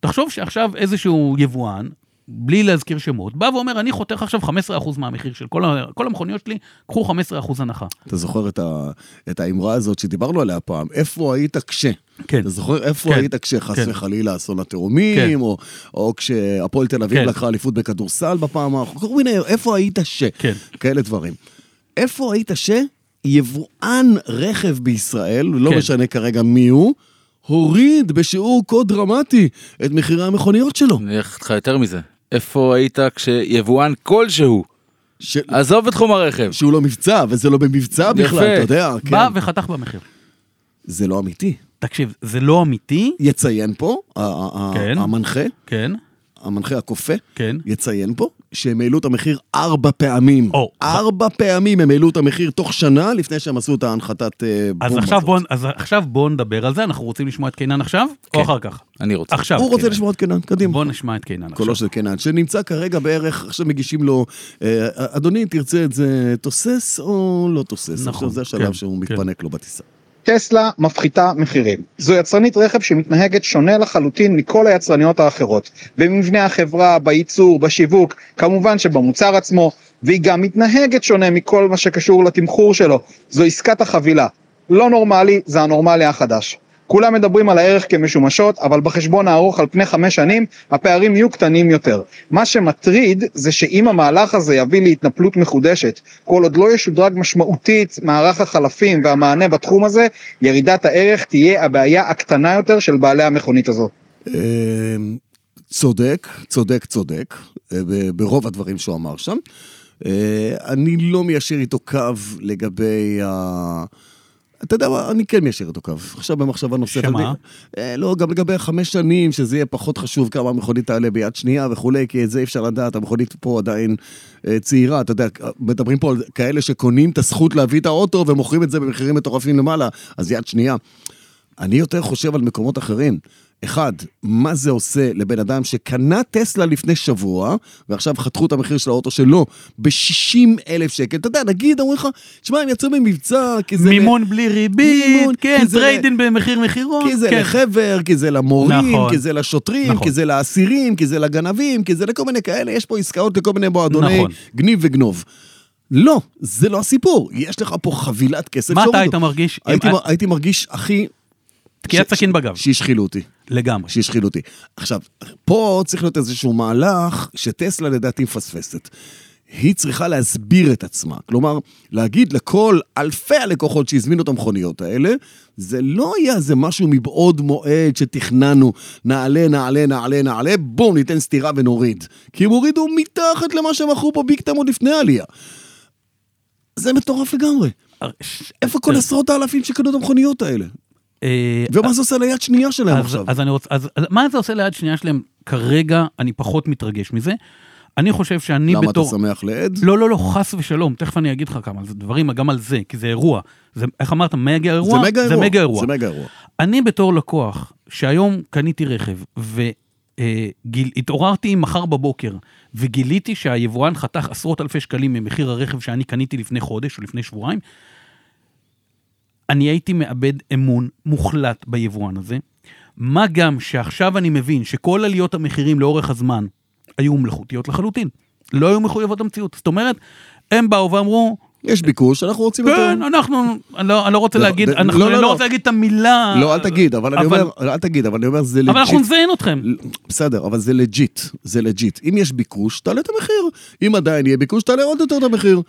תחשוב שעכשיו איזשהו יבואן, בלי להזכיר שמות, בא ואומר, אני חותך עכשיו 15% מהמחיר של כל, ה- כל המכוניות שלי, קחו 15% הנחה. אתה זוכר את, ה... את האמרה הזאת שדיברנו עליה פעם, איפה היית כש? כן. אתה זוכר איפה כן. היית כשחס כן. וחלילה אסון התאומים, כן. או, או כשהפועל תל אביב כן. לקחה אליפות בכדורסל בפעם האחרונה, כל מיני, איפה היית ש? כן. כאלה דברים. איפה היית ש? יבואן רכב בישראל, לא כן. משנה כרגע מי הוא, הוריד בשיעור כה דרמטי את מחירי המכוניות שלו. אני אלך איתך יותר מזה. איפה היית כשיבואן כלשהו, ש... עזוב את תחום הרכב, שהוא לא מבצע, וזה לא במבצע יפה. בכלל, אתה יודע, כן. בא וחתך במחיר. זה לא אמיתי. תקשיב, זה לא אמיתי, יציין פה, ה- ה- ה- כן. המנחה, כן, המנחה הכופה, כן. יציין פה שהם העלו את המחיר ארבע פעמים. או. ארבע פעמים הם העלו את המחיר תוך שנה לפני שהם עשו את ההנחתת אה, בום. אז עכשיו, הזאת. בוא, אז עכשיו בוא נדבר על זה, אנחנו רוצים לשמוע את קינן עכשיו, או אחר כך? אני רוצה. עכשיו. הוא כן. רוצה קינן. לשמוע את קנן, קדימה. בוא נשמע את קינן עכשיו. קולו של קנן, שנמצא כרגע בערך, עכשיו מגישים לו, אה, אדוני, תרצה את זה תוסס או לא תוסס? נכון, עכשיו זה כן, השלב שהוא כן. מתפנק לו בטיסה. טסלה מפחיתה מחירים. זו יצרנית רכב שמתנהגת שונה לחלוטין מכל היצרניות האחרות. במבנה החברה, בייצור, בשיווק, כמובן שבמוצר עצמו, והיא גם מתנהגת שונה מכל מה שקשור לתמחור שלו. זו עסקת החבילה. לא נורמלי, זה הנורמלי החדש. כולם מדברים על הערך כמשומשות, אבל בחשבון הארוך על פני חמש שנים, הפערים יהיו קטנים יותר. מה שמטריד זה שאם המהלך הזה יביא להתנפלות מחודשת, כל עוד לא ישודרג משמעותית מערך החלפים והמענה בתחום הזה, ירידת הערך תהיה הבעיה הקטנה יותר של בעלי המכונית הזאת. אה, צודק, צודק, צודק, אה, ב- ברוב הדברים שהוא אמר שם. אה, אני לא מיישר איתו קו לגבי ה... אתה יודע מה, אני כן מיישר איתו קו. עכשיו במחשבה נוספת. שמה? אה, לא, גם לגבי החמש שנים, שזה יהיה פחות חשוב כמה המכונית תעלה ביד שנייה וכולי, כי את זה אי אפשר לדעת, המכונית פה עדיין אה, צעירה. אתה יודע, מדברים פה על כאלה שקונים את הזכות להביא את האוטו ומוכרים את זה במחירים מטורפים למעלה, אז יד שנייה. אני יותר חושב על מקומות אחרים. אחד, מה זה עושה לבן אדם שקנה טסלה לפני שבוע, ועכשיו חתכו את המחיר של האוטו שלו ב-60 אלף שקל. אתה יודע, נגיד, אומרים לך, תשמע, הם יצאו במבצע, כי זה... מימון בלי ריבית, מימון, כן, כי זה- טריידין במחיר מחירון. כי זה כן. לחבר, כי זה למורים, נכון. כי זה לשוטרים, נכון. כי זה לאסירים, כי זה לגנבים, כי זה לכל מיני כאלה, יש פה עסקאות לכל מיני מועדוני נכון. גניב וגנוב. לא, זה לא הסיפור, יש לך פה חבילת כסף מה אתה שהורידו. היית מרגיש? הייתי אם- מ- הייתי מרגיש, אחי, תקיעת ש- סכין בגב, שהשחילו אותי. לגמרי. שהשחיל אותי. עכשיו, פה צריך להיות איזשהו מהלך שטסלה לדעתי מפספסת. היא צריכה להסביר את עצמה. כלומר, להגיד לכל אלפי הלקוחות שהזמינו את המכוניות האלה, זה לא היה איזה משהו מבעוד מועד שתכננו, נעלה, נעלה, נעלה, נעלה, בום, ניתן סטירה ונוריד. כי הם הורידו מתחת למה שהם מכרו בביקטם עוד לפני העלייה. זה מטורף לגמרי. איפה כל עשרות האלפים שקנו את המכוניות האלה? כן. אה, ומה זה עושה ליד שנייה שלהם אז, עכשיו? אז אני רוצה, אז אז מה זה עושה ליד שנייה שלהם? כרגע אני פחות מתרגש מזה. אני חושב שאני למה אתה בתור... שמח לעד? לא, לא, לא, חס ושלום, תכף אני אגיד לך כמה זה דברים, גם על זה, כי זה אירוע. זה, איך אמרת, מגה אירוע? זה מגה אירוע. זה מגה אירוע. זה מגה אירוע. אני בתור לקוח, שהיום קניתי רכב, אה, גיל, התעוררתי מחר בבוקר וגיליתי שהיבואן חתך עשרות אלפי שקלים ממחיר הרכב שאני קניתי לפני חודש או לפני שבועיים, אני הייתי מאבד אמון מוחלט ביבואן הזה. מה גם שעכשיו אני מבין שכל עליות המחירים לאורך הזמן היו מלאכותיות לחלוטין. לא היו מחויבות המציאות. זאת אומרת, הם באו ואמרו, יש ביקוש, אנחנו רוצים יותר. כן, אנחנו, אני לא, אני לא רוצה לא, להגיד, ד- אנחנו, לא, אני לא, לא, לא. רוצה להגיד את המילה. לא, אל תגיד, אבל אני אה, אבל- אומר, לא, אל תגיד, אבל אני אומר, זה אבל אנחנו לג'יט. נזיין אתכם. בסדר, אבל זה לג'יט, זה לג'יט. אם יש ביקוש, תעלה את המחיר. אם עדיין יהיה ביקוש, תעלה עוד יותר את המחיר.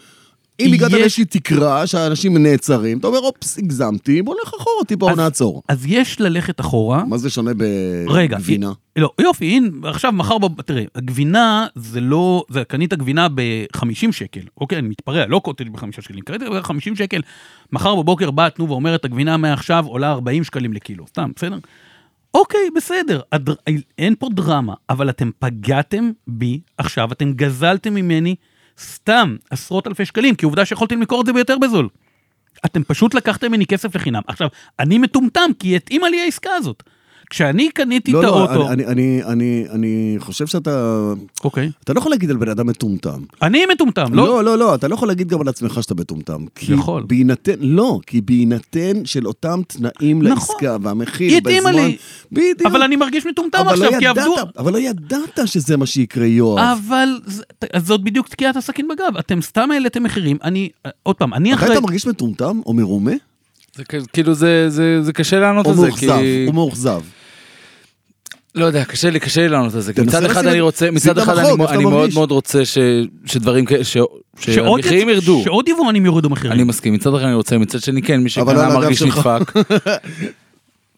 אם הגעת יש- לאיזושהי תקרה שהאנשים נעצרים, אתה אומר, אופס, הגזמתי, בוא נלך אחורה, טיפה או אז- נעצור. אז יש ללכת אחורה. מה זה שונה רגע, בגבינה? י- לא, יופי, הנה, עכשיו, מחר, בב- תראה, הגבינה זה לא, זה, קנית גבינה ב-50 שקל, אוקיי, אני מתפרע, לא קוטג' ב-5 שקלים, קנית ב-50 שקל, מחר בבוקר באה תנובה אומרת, הגבינה מעכשיו עולה 40 שקלים לקילו, סתם, בסדר? אוקיי, בסדר, הדר... אין פה דרמה, אבל אתם פגעתם בי עכשיו, אתם גזלתם ממני סתם עשרות אלפי שקלים, כי עובדה שיכולתם למכור את זה ביותר בזול. אתם פשוט לקחתם ממני כסף לחינם. עכשיו, אני מטומטם, כי התאימה לי העסקה הזאת. כשאני קניתי לא, את לא, האוטו... אני- אני- אני- אני חושב שאתה... אוקיי. אתה לא יכול להגיד על בן אדם מטומטם. אני מטומטם, לא? לא, לא, לא, אתה לא יכול להגיד גם על עצמך שאתה מטומטם. כי יכול. בהינתן, לא, כי בהינתן של אותם תנאים נכון. לעסקה והמחיר היא התאימה בזמן... לי. בדיוק. אבל אני מרגיש מטומטם אבל עכשיו, לא כי ידעת- עבדו... אבל לא ידעת שזה מה שיקרה, יואב. אבל זה- אז זאת בדיוק תקיעת הסכין בגב, אתם סתם העליתם מחירים, אני, אה, עוד פעם, אני מתי אחרי... אתה מרגיש מטומטם או מרומה זה כ- כאילו זה זה זה קשה לענות או על זה כי מאוכזב? או מאוכזב. לא יודע קשה לי קשה לי לענות על זה כי תנסה מצד אחד לשים אני את- רוצה שים מצד את אחד המחוג, אני איך אתה אני מאוד מרגיש? מאוד רוצה ש- שדברים כאלה שעוד שהמחירים יצ- ירדו שעוד יבואנים יורידו מחירים. אני מסכים מצד אחד אני רוצה מצד שני כן מי אבל לא על שקנה הגב מרגיש שלך. נדפק.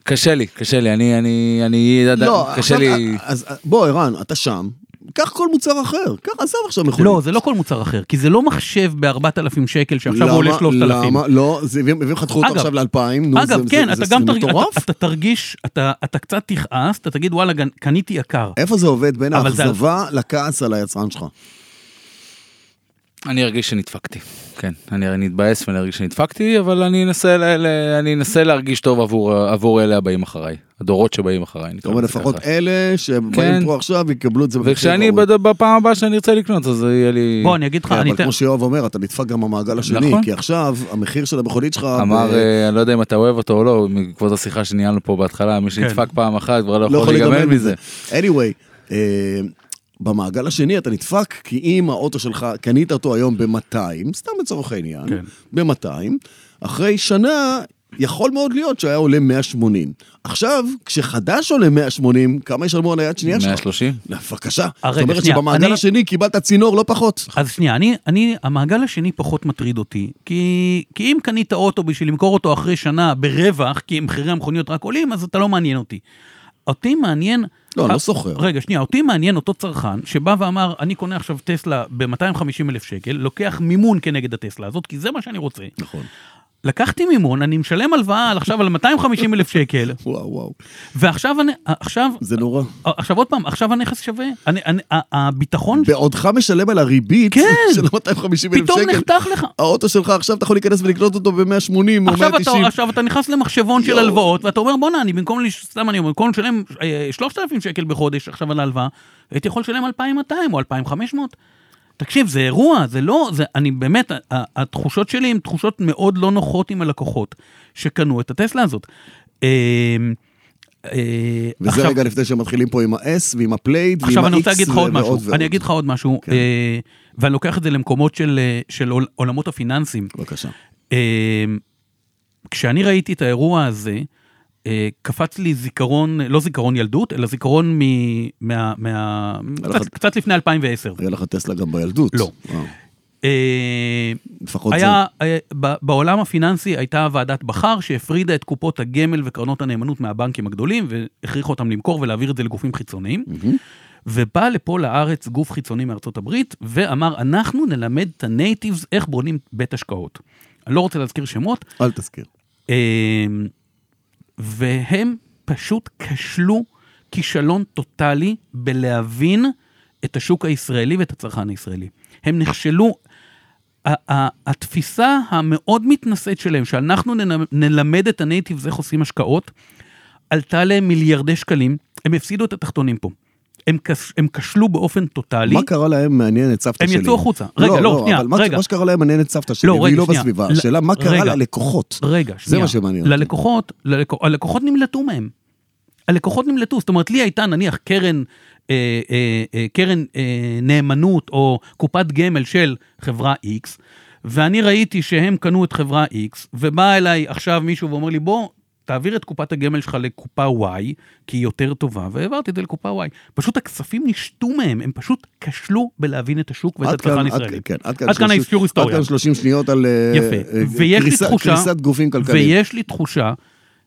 קשה לי קשה לי אני אני אני לא, קשה עכשיו, לי אז בוא, ערן, אתה שם, קח כל מוצר אחר. קח, עזוב עכשיו מכונית. לא, זה לא כל מוצר אחר, כי זה לא מחשב ב-4,000 שקל שעכשיו הוא עולה למה- 3,000. למה? לא, זה הביאו הביאו לך דחו אותו אגב- עכשיו לאלפיים. נו, אגב, זה- כן, זה- אתה זה גם תרגיש, מטורף. אתה תרגיש, אתה אתה קצת תכעס, אתה תגיד וואלה, גנ- קניתי יקר. איפה זה עובד בין אבל זה- האכזבה לכעס על היצרן שלך? אני ארגיש שנדפקתי, כן, אני אני אתבאס ואני ארגיש שנדפקתי, אבל אני אנסה, ל- ל- אני אנסה להרגיש טוב עבור, עבור אלה הבאים אחריי, הדורות שבאים אחריי. אתה אומר לפחות אלה שבאים כן. פה עכשיו יקבלו את זה. במחיר וכשאני, ראוי. בד- בפעם הבאה שאני ארצה לקנות, אז יהיה לי... בוא, אני אגיד לך, כן, אני אבל אתן... כמו שיואב אומר, אתה נדפק גם במעגל השני, נכון. כי עכשיו המחיר של המכונית שלך... אמר, ב- אה, אני לא יודע אם אתה אוהב אותו או לא, בעקבות השיחה שניהלנו פה בהתחלה, כן. מי שנדפק פעם אחת כבר לא לא יכול להיגמל מזה. anyway, אה, במעגל השני אתה נדפק, כי אם האוטו שלך, קנית אותו היום ב-200, סתם לצורך העניין, כן. ב-200, אחרי שנה, יכול מאוד להיות שהיה עולה 180. עכשיו, כשחדש עולה 180, כמה ישלמו על היד שנייה שלך? 130? בבקשה. אה, זאת רגע, אומרת שנייה, שבמעגל אני- השני קיבלת צינור לא פחות. אז שנייה, אני, אני, המעגל השני פחות מטריד אותי, כי, כי אם קנית אוטו בשביל למכור אותו אחרי שנה ברווח, כי מחירי המכוניות רק עולים, אז אתה לא מעניין אותי. אותי מעניין... לא, אה, אני לא סוחר. רגע, שנייה, אותי מעניין אותו צרכן שבא ואמר, אני קונה עכשיו טסלה ב-250 אלף שקל, לוקח מימון כנגד הטסלה הזאת, כי זה מה שאני רוצה. נכון. לקחתי מימון, אני משלם הלוואה על- עכשיו על 250 אלף שקל, וואו, וואו, ועכשיו, אני, עכשיו, זה נורא. עכשיו עוד פעם, עכשיו הנכס שווה. אני, אני, ה- הביטחון בעודך משלם על הריבית כן. של 250 אלף פתאום שקל, נחתך לך. האוטו שלך עכשיו אתה יכול להיכנס ולקנות אותו ב-180 או 190. עכשיו אתה, עכשיו אתה נכנס למחשבון של יואו. הלוואות, ואתה אומר, בואנה, אני במקום, לש- סתם אני אומר, במקום לשלם אה, 3,000 שקל בחודש עכשיו על ההלוואה, הייתי יכול לשלם 2,200 או 2,500. תקשיב, זה אירוע, זה לא, זה, אני באמת, ה- ה- התחושות שלי הן תחושות מאוד לא נוחות עם הלקוחות שקנו את הטסלה הזאת. אה, אה, וזה עכשיו- רגע לפני שמתחילים פה עם ה-S ועם הפלייד ועם עכשיו אני רוצה ה-X להגיד לך עוד ועוד משהו, ועוד. אני אגיד לך עוד משהו, כן. אה, ואני לוקח את זה למקומות של, אה, של עול- עולמות הפיננסים. בבקשה. אה, כשאני ראיתי את האירוע הזה, אה, קפץ לי זיכרון, לא זיכרון ילדות, אלא זיכרון מ... מה... מה לך- קצת, קצת לפני 2010. היה לך טסלה גם בילדות. לא. וואו, אה, לפחות זה. היה, אה, ב- בעולם הפיננסי הייתה ועדת בכר שהפרידה את קופות הגמל וקרנות הנאמנות מהבנקים הגדולים והכריחה אותם למכור ולהעביר את זה לגופים חיצוניים. ובא לפה לארץ גוף חיצוני מארצות הברית ואמר, אנחנו נלמד את הנייטיבס איך בונים בית השקעות. אני לא רוצה להזכיר שמות, אל תזכיר. אמ, והם פשוט כשלו כישלון טוטאלי בלהבין את השוק הישראלי ואת הצרכן הישראלי. הם נכשלו, ה- ה- התפיסה המאוד מתנשאת שלהם, שאנחנו ננ- נלמד את הנייטיבס איך עושים השקעות, עלתה להם מיליארדי שקלים, הם הפסידו את התחתונים פה. הם כש- הם כשלו באופן טוטאלי. מה קרה להם מעניין את סבתא הם שלי? יצאו החוצה. רגע, לא, שנייה, אבל מה- רגע. מה שקרה להם מעניין את סבתא שלי, לא, והיא רגע, לא שנייה. בסביבה. ל- השאלה, מה קרה רגע. ללקוחות? רגע, זה שנייה. מה שמעניין אותי. ללקוחות, ללקוח, הלקוחות נמלטו מהם. הלקוחות נמלטו, זאת אומרת, לי הייתה נניח קרן, אה, אה, אה, קרן אה, נאמנות או קופת גמל של חברה X, ואני ראיתי שהם קנו את חברה X, ובא אליי עכשיו מישהו ואומר לי, בוא, תעביר את קופת הגמל שלך לקופה Y, כי היא יותר טובה, והעברתי את זה לקופה Y. פשוט הכספים נשתו מהם, הם פשוט כשלו בלהבין את השוק ואת עד כאן- הצרכן עד- הישראלי. כן, עד עד כאן שלושים- האיסור היסטוריה. עד כאן 30 שניות על אה, יפה. אה, ויש לי קריסה- תחושה- קריסת גופים כלכליים. ויש לי תחושה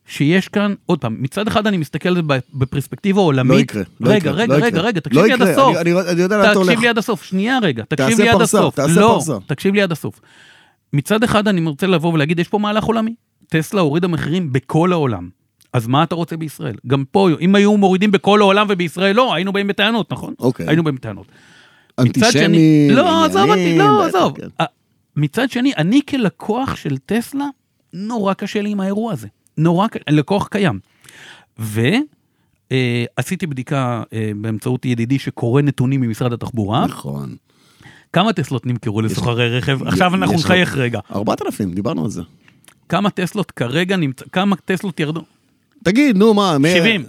שיש כאן, עוד פעם, מצד אחד אני מסתכל על זה בפרספקטיבה עולמית. לא יקרה, לא רגע, יקרה, רגע, לא רגע, יקרה. רגע, תקשיב לא לי עד יקרה, הסוף. אני- אני- אני יודע לאן אתה תקשיב הולך. לי עד הסוף, שנייה רגע, תקשיב תעשה לי עד פרסה, הסוף. תעשה לא, פרסה. תקשיב לי עד הסוף. מצד אחד אני רוצה לבוא ולהגיד, יש פה מהלך עולמי. טסלה הורידה מחירים בכל העולם. אז מה אתה רוצה בישראל? גם פה, אם היו מורידים בכל העולם ובישראל לא, היינו באים בטענות, נכון? אוקיי. היינו באים בטענות. מצד שני- אנטישמי, לא, עזוב אותי, לא, בטח, עזוב. כן. אה, מצד שני, אני כלקוח של טסלה, נורא קשה לי עם האירוע הזה. נורא קשה, לקוח קיים. ועשיתי בדיקה אה, באמצעות ידידי שקורא נתונים ממשרד התחבורה. נכון. כמה טסלות נמכרו לסוחרי רכב? עכשיו אנחנו יש לך- נחייך רגע. 4,000, דיברנו על זה. כמה טסלות כרגע נמצא, כמה טסלות ירדו? תגיד, נו, מה? מאה- 70.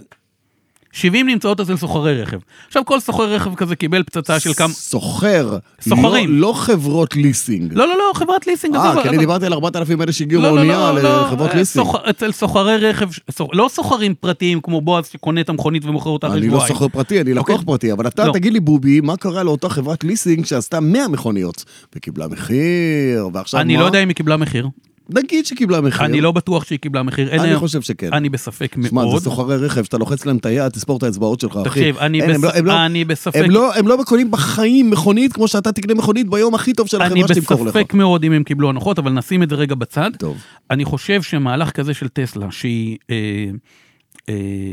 70 נמצאות אצל סוחרי רכב. עכשיו כל סוחר רכב כזה קיבל פצצה של כמה... סוחר. סוחרים. לא- לא חברות ליסינג. לא, לא, לא, חברת ליסינג. עזוב, אה, כי אני עזוב. דיברתי על 4,000 אלה שהגיעו לא, לא, באונייה לא, לא, לחברות אה, ליסינג. סוח- אצל סוחרי רכב, ש- סוח- לא סוחרים פרטיים כמו בועז שקונה את המכונית ומוכר אותה אחרי אני לא שבועיים. סוחר פרטי, אני לקוח אוקיי. פרטי, אבל אתה לא. תגיד לי, בובי, מה קרה לאותה חברת ליסינג שעשתה 100 מכוניות וקיבלה מחיר, ועכשיו מה? אני לא יודע אם היא קיבלה מחיר. נגיד שקיבלה מחיר. אני לא בטוח שהיא קיבלה מחיר. אין אני היום- חושב שכן. אני בספק שמע, מאוד. זה סוחרי רכב, שאתה לוחץ להם את היד, תספור את האצבעות שלך, אחי. תקשיב, אני אין, הם בס- לא- הם לא- אני בספק. הם לא, הם לא קונים בחיים מכונית כמו שאתה תקנה מכונית ביום הכי טוב של אני החברה שתמכור לך. בספק מאוד אם הם קיבלו הנחות, אבל נשים את זה רגע בצד. טוב. אני חושב שמהלך כזה של טסלה, שהיא... אה, אה,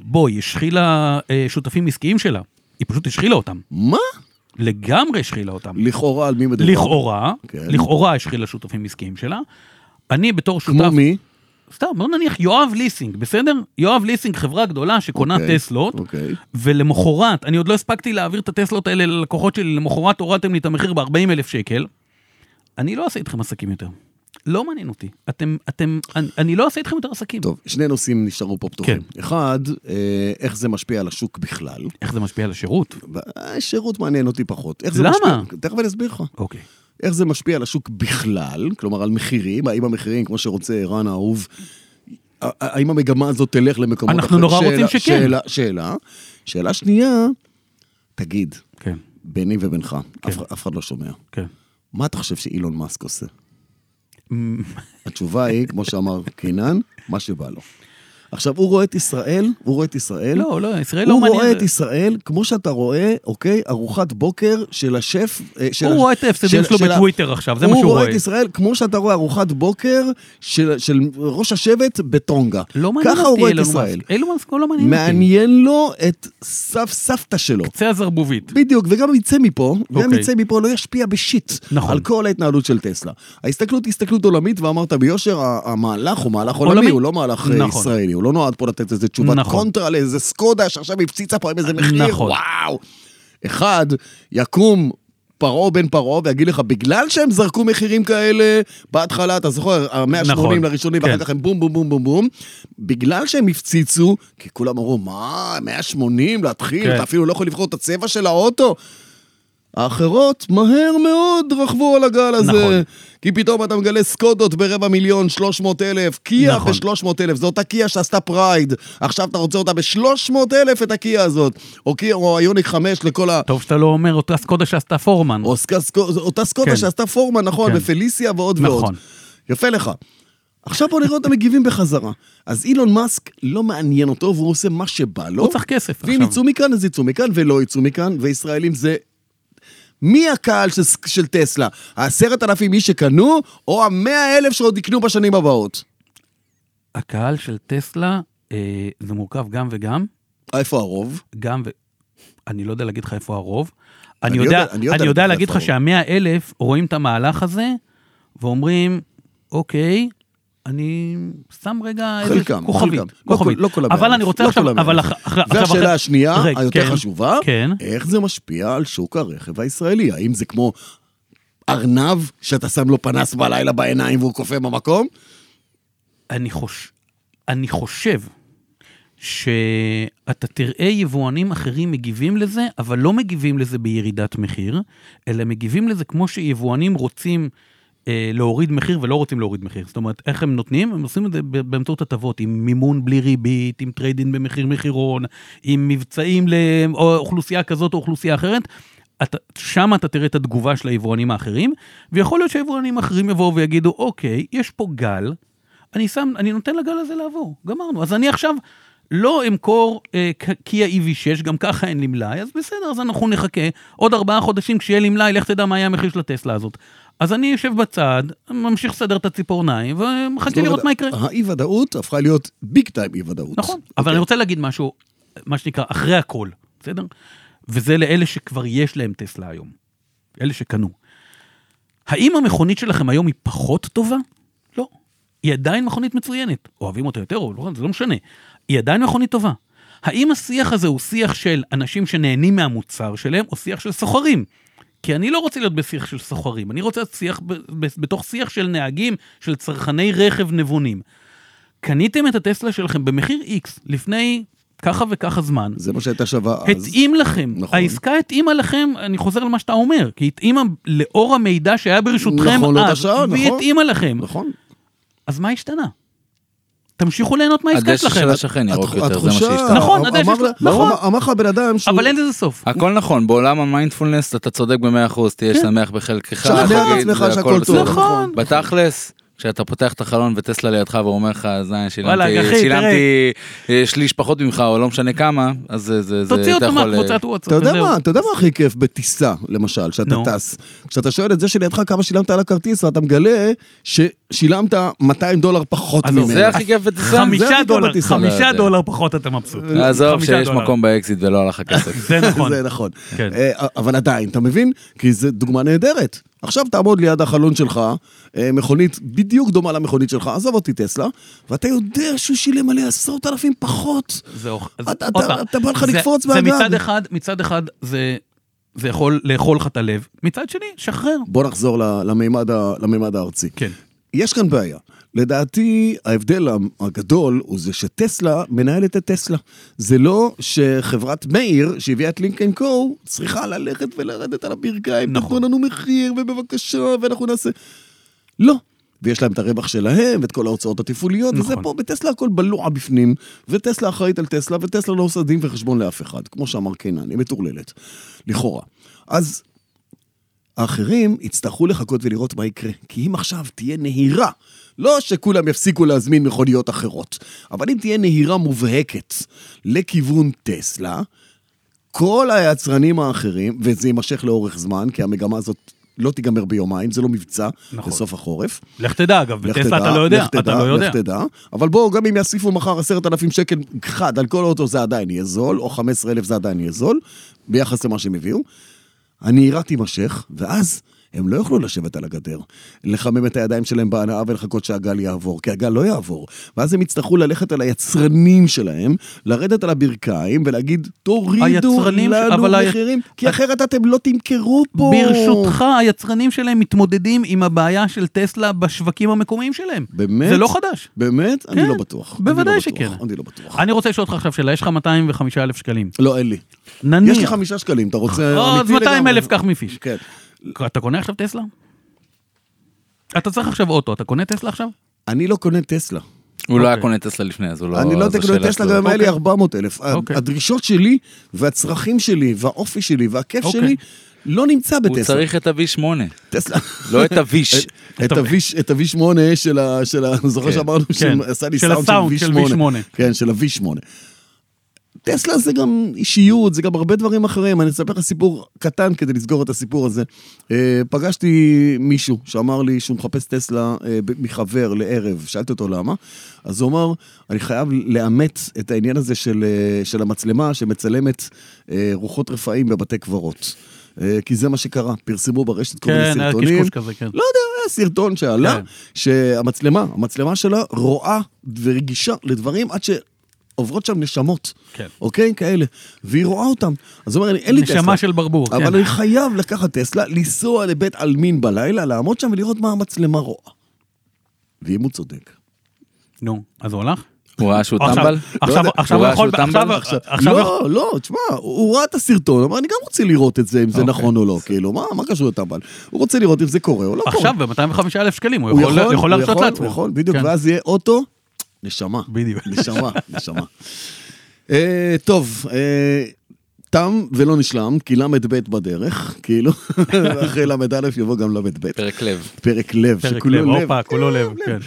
בואי, השחילה אה, שותפים עסקיים שלה. היא פשוט השחילה אותם. מה? לגמרי השחילה אותם. לכאורה, על מי מדובר? לכאורה, כן. לכאורה השחילה שותפים עסקיים שלה. אני בתור שותף, כמו מי? סתם, בוא נניח יואב ליסינג, בסדר? יואב ליסינג, חברה גדולה שקונה אוקיי, טסלות, אוקיי. ולמחרת, אני עוד לא הספקתי להעביר את הטסלות האלה ללקוחות שלי, למחרת הורדתם לי את המחיר ב-40 אלף שקל. אני לא אעשה איתכם עסקים יותר. לא מעניין אותי. אתם, אתם, אני, אני לא אעשה איתכם יותר עסקים. טוב, שני נושאים נשארו פה פתוחים. כן. אחד, אה, איך זה משפיע על השוק בכלל. איך זה משפיע על השירות? השירות מעניין אותי פחות. איך זה למה? משפיע- תכף אני אסביר לך. אוקיי. איך זה משפיע על השוק בכלל, כלומר על מחירים, האם המחירים, כמו שרוצה ערן האהוב, ה- האם המגמה הזאת תלך למקומות אנחנו נורא רוצים שכן. שאלה, שאלה. שאלה שנייה, תגיד, כן, ביני ובינך, כן. אף, אף אחד לא שומע, כן. מה אתה חושב שאילון מאסק עושה? כן. התשובה היא, כמו שאמר קינן, מה שבא לו. עכשיו, הוא רואה את ישראל, הוא רואה את ישראל, לא, לא, ישראל לא הוא מעניין. רואה את ישראל, כמו שאתה רואה, אוקיי, ארוחת בוקר של השף... אה, של הוא הש- רואה את ההפסדים של- שלו של ה- בטוויטר עכשיו, זה מה שהוא הוא רואה רואה. את ישראל כמו שאתה רואה ארוחת בוקר של, של ראש השבט בטונגה. לא מעניין ככה הוא אותי רואה את אילון ישראל. מאסק. אילון מאסק הוא לא מעניין אותי. מעניין לו את סב, סבתא שלו. קצה הזרבובית. בדיוק, וגם אם יצא מפה, גם אם אוקיי. יצא מפה לא ישפיע בשיט נכון. על כל ההתנהלות של טסלה. ההסתכלות היא הסתכלות עולמית, ואמרת ביושר, ה- המהלך הוא מהלך עולמי, עולמי. הוא לא מהלך אה, נכון. ישראלי, הוא לא נועד פה לתת איזה תשובת נכון. קונטרה לאיזה סקודה שעכשיו הפציצה פה עם איזה מחיר, נכון. וואו. אחד, יקום פרעה בן פרעה ויגיד לך, בגלל שהם זרקו מחירים כאלה בהתחלה, אתה זוכר, המאה ה-80 נכון. לראשונים, ואחר כן. כך הם בום בום בום בום בום, בגלל שהם הפציצו, כי כולם אמרו, מה, 180 להתחיל, כן. אתה אפילו לא יכול לבחור את הצבע של האוטו. האחרות מהר מאוד רכבו על הגל הזה. נכון. כי פתאום אתה מגלה סקודות ברבע מיליון, 300 אלף, קיה נכון. ב-300 אלף, זו אותה קיה שעשתה פרייד, עכשיו אתה רוצה אותה ב-300 אלף, את הקיה הזאת. או קיה, או היוניק 5 לכל ה... טוב שאתה לא אומר אותה סקודה שעשתה פורמן. או סק- סק- זו אותה סקודה כן. שעשתה פורמן, נכון, כן. ופליסיה ועוד ועוד. נכון. יפה לך. עכשיו בוא נראה אותם מגיבים בחזרה. אז אילון מאסק לא מעניין אותו, והוא עושה מה שבא לו. הוא לא צריך כסף לא? ואם עכשיו. יצאו מכאן, אז יצאו מכאן, ולא יצאו מכאן, וישראלים זה... מי הקהל של, של טסלה? העשרת אלפים איש שקנו, או המאה אלף שעוד יקנו בשנים הבאות? הקהל של טסלה, אה, זה מורכב גם וגם, איפה הרוב? גם ו... אני לא יודע להגיד לך איפה הרוב. אני אני יודע- יודע, אני יודע אני להגיד לך יודע להגיד איפה לך הרוב. שהמאה אלף רואים את המהלך הזה, ואומרים, אוקיי, אני שם רגע איזה חלקם, כוכבית. חלקם. לא כוכבית. כל- לא כל אבל הבעיה. אני רוצה לא עכשיו, כל הבעיה. אבל אח- אח- עכשיו... אחרי- והשאלה השנייה, רגע, היותר כן, חשובה, כן. איך זה משפיע על שוק הרכב הישראלי? האם זה כמו ארנב שאתה שם לו פנס בלילה בעיניים והוא קופא במקום? אני, חוש... אני חושב שאתה תראה יבואנים אחרים מגיבים לזה, אבל לא מגיבים לזה בירידת מחיר, אלא מגיבים לזה כמו שיבואנים רוצים אה, להוריד מחיר ולא רוצים להוריד מחיר. זאת אומרת, איך הם נותנים? הם עושים את זה ב- באמצעות הטבות, עם מימון בלי ריבית, עם טריידין במחיר מחירון, עם מבצעים לאוכלוסייה כזאת או אוכלוסייה אחרת. אתה, שם אתה תראה את התגובה של היבואנים האחרים, ויכול להיות שהיבואנים האחרים יבואו ויגידו, אוקיי, יש פה גל, אני שם, אני נותן לגל הזה לעבור, גמרנו. אז אני עכשיו לא אמכור אה, ק- קיה EV6, גם ככה אין לי מלאי, אז בסדר, אז אנחנו נחכה עוד ארבעה חודשים כשיהיה לי מלאי, לך תדע מה יהיה המחיר של הטסלה הזאת. אז אני יושב בצד, ממשיך לסדר את הציפורניים, ומחכה לא, לראות מה יקרה. אה, האי-ודאות הפכה להיות ביג טיים אי-ודאות. נכון, אבל אני רוצה להגיד משהו, מה שנקרא, אחרי הכל, בסדר? וזה לאלה שכבר יש להם טסלה היום, אלה שקנו. האם המכונית שלכם היום היא פחות טובה? לא. היא עדיין מכונית מצוינת. אוהבים אותה יותר או לא, זה לא משנה. היא עדיין מכונית טובה. האם השיח הזה הוא שיח של אנשים שנהנים מהמוצר שלהם, או שיח של סוחרים? כי אני לא רוצה להיות בשיח של סוחרים, אני רוצה להיות שיח, ב- ב- בתוך שיח של נהגים, של צרכני רכב נבונים. קניתם את הטסלה שלכם במחיר X לפני ככה וככה זמן, זה מה שהייתה שווה אז. התאים לכם, נכון. העסקה התאימה לכם, אני חוזר למה שאתה אומר, כי התאימה לאור המידע שהיה ברשותכם נכון, לאותה אז, שעה, והיא נכון. התאימה לכם. נכון. אז מה השתנה? תמשיכו ליהנות מהעסקה הדשא שלכם, של השכן ירוק התח- יותר, זה מה התחושה- שהשתנה. לא נכון, אמר- אתה יודע שיש- אמר- נכון. אמר- אמר לך הבן אדם שהוא... אבל אין לזה אה, סוף. הכל נכון, בעולם המיינדפולנס אתה צודק ב-100%, תהיה שמח בחלקך, שכנע את תגיד, עצמך זה הכל שהכל בסדר. טוב. כן. נכון. בתכלס, כשאתה פותח את החלון וטסלה לידך ואומר לך, זין, וואלה, אחי, שילמתי, תראה." שילמתי אה, שליש פחות ממך, או לא משנה כמה, אז זה, זה, זה, תוציא אתה אותו יכול, אה, מהקבוצת וואטסאפ. אתה יודע וזהו. מה, אתה יודע מה הכי כיף בטיסה, למשל, שאתה נו. טס? כשאתה שואל את זה שלידך כמה שילמת על הכרטיס, ואתה מגלה ששילמת 200 דולר פחות עזוב, ממנו. זה הכי כיף בטיסה. זה אה, חמישה הכי טוב דולר, בטיסה, לא חמישה יודע. דולר פחות אתה מבסוט. עזוב חמישה שיש דולר. מקום באקזיט ולא הלך הכסף. זה נכון. זה נכון. כן. אה, אבל עדיין, אתה מבין? כי זו דוגמה נהדרת. עכשיו תעמוד ליד החלון שלך, אה, מכונית בדיוק דומה למכונית שלך, עזוב אותי טסלה, ואתה יודע שהוא שילם עליה עשרות אלפים פחות. זה אוכ- אז אתה- עוד אתה- פעם, אתה בא לך זה- לקפוץ זה מהגג. מצד אחד, מצד אחד זה זה יכול לאכול לך את הלב, מצד שני, שחרר. בוא נחזור ל- למימד ה- למימד הארצי. כן. יש כאן בעיה. לדעתי, ההבדל הגדול הוא זה שטסלה מנהלת את טסלה. זה לא שחברת מאיר, שהביאה את לינקן קו, צריכה ללכת ולרדת על הברכיים. נכון. נכון. תנו לנו מחיר, ובבקשה, ואנחנו נעשה... לא. ויש להם את הרווח שלהם, ואת כל ההוצאות התפעוליות, נכון. וזה נכון. פה, בטסלה הכל בלוע בפנים, וטסלה אחראית על טסלה, וטסלה לא עושה דין וחשבון לאף אחד, כמו שאמר קינן, היא מטורללת, לכאורה. אז האחרים יצטרכו לחכות ולראות מה יקרה, כי אם עכשיו תהיה נהירה, לא שכולם יפסיקו להזמין מכוניות אחרות, אבל אם תהיה נהירה מובהקת לכיוון טסלה, כל היצרנים האחרים, וזה יימשך לאורך זמן, כי המגמה הזאת לא תיגמר ביומיים, זה לא מבצע, נכון. נכון. בסוף החורף. לך תדע, אגב, לך בטסלה תדע, אתה לא יודע, לך תדע, אתה לא יודע. לך תדע, אבל בואו, גם אם יוסיפו מחר 10,000 שקל חד על כל אוטו, זה עדיין יהיה זול, או 15,000 זה עדיין יהיה זול, ביחס למה שהם הביאו. הנהירה תימשך, ואז הם לא יוכלו לשבת על הגדר, לחמם את הידיים שלהם בהנאה ולחכות שהגל יעבור, כי הגל לא יעבור. ואז הם יצטרכו ללכת על היצרנים שלהם, לרדת על הברכיים ולהגיד, תורידו היצרנים ש- לנו אבל ה- מחירים, כי אחרת אתם לא תמכרו פה. ברשותך, היצרנים שלהם מתמודדים עם הבעיה של טסלה בשווקים המקומיים שלהם. באמת? זה לא חדש. באמת? כן, אני לא בטוח. אני לא בוודאי בטוח, שכן. אני לא בטוח. אני רוצה לשאול אותך עכשיו שאלה, יש לך 205 אלף שקלים. לא, אין לי. נניח. יש לי חמישה שקלים, אתה רוצה... או, אז אמיתי 200 אה, אלף, לגמרי? קח מפיש. כן. אתה קונה עכשיו טסלה? אתה צריך עכשיו אוטו, אתה קונה טסלה עכשיו? אני לא קונה טסלה. הוא לא היה אוקיי. קונה טסלה לפני, אז הוא לא... אני לא זו קונה שאלה טסלה, שלו. גם אם היה לי אוקיי. 400 אלף. אוקיי. הדרישות שלי, והצרכים שלי, והאופי שלי, והכיף אוקיי. שלי, לא נמצא הוא בטסלה. אה, צריך את ה-V8, טסלה. לא את ה-V. את טוב. ה-V- את ה-V8 של ה... של ה- זוכר כן, שאמרנו כן. שעשה לי של סאונד הסאונד של של V8. V8. כן, של ה-V8. טסלה זה גם אישיות, זה גם הרבה דברים אחרים. אני אספר לך סיפור קטן כדי לסגור את הסיפור הזה. אה, פגשתי מישהו שאמר לי שהוא מחפש טסלה אה, ב- מחבר לערב, שאלתי אותו למה. אז הוא אמר, אני חייב לאמץ את העניין הזה של, אה, של המצלמה שמצלמת אה, רוחות רפאים בבתי קברות. אה, כי זה מה שקרה, פרסמו ברשת כל מיני כן, היה סרטונים. קשקוש כזה, כן. לא יודע, היה סרטון שעלה, כן. שהמצלמה, המצלמה שלה רואה ורגישה לדברים עד שעוברות שם נשמות, כן. אוקיי? כאלה. והיא רואה אותם. אז הוא אומר, לי, אין לי טסלה. נשמה של ברבור, כן. אבל אני חייב לקחת טסלה, לנסוע לבית עלמין בלילה, לעמוד שם ולראות מה המצלמה רואה. ואם הוא צודק. נו, אז הוא הלך? הוא ראה שהוא עכשיו- טמבל? עכשיו- לא יודע. עכשיו הוא הוא ראה יכול... שהוא עכשיו- טמבל? עכשיו... לא, לא, תשמע, הוא ראה את הסרטון, אמר, אני גם רוצה לראות את זה, אם זה אוקיי. נכון או לא, כאילו, מה מה קשור לטמבל? הוא רוצה לראות אם זה קורה או לא קורה. עכשיו ב-205,000 שקלים, הוא הוא יכול- יכול הוא להרשות יכול, לעצמו. הוא יכול, בדיוק, כן. ואז יהיה אוטו, נשמה. בדיוק. נשמה, נשמה. אה, טוב, אה, תם ולא נשלם, כי ל"ב בדרך, כאילו, אחרי ל"א יבוא גם ל"ב. פרק לב. פרק לב, פרק שכולו לב, לב. הופה, כולו לב, כן.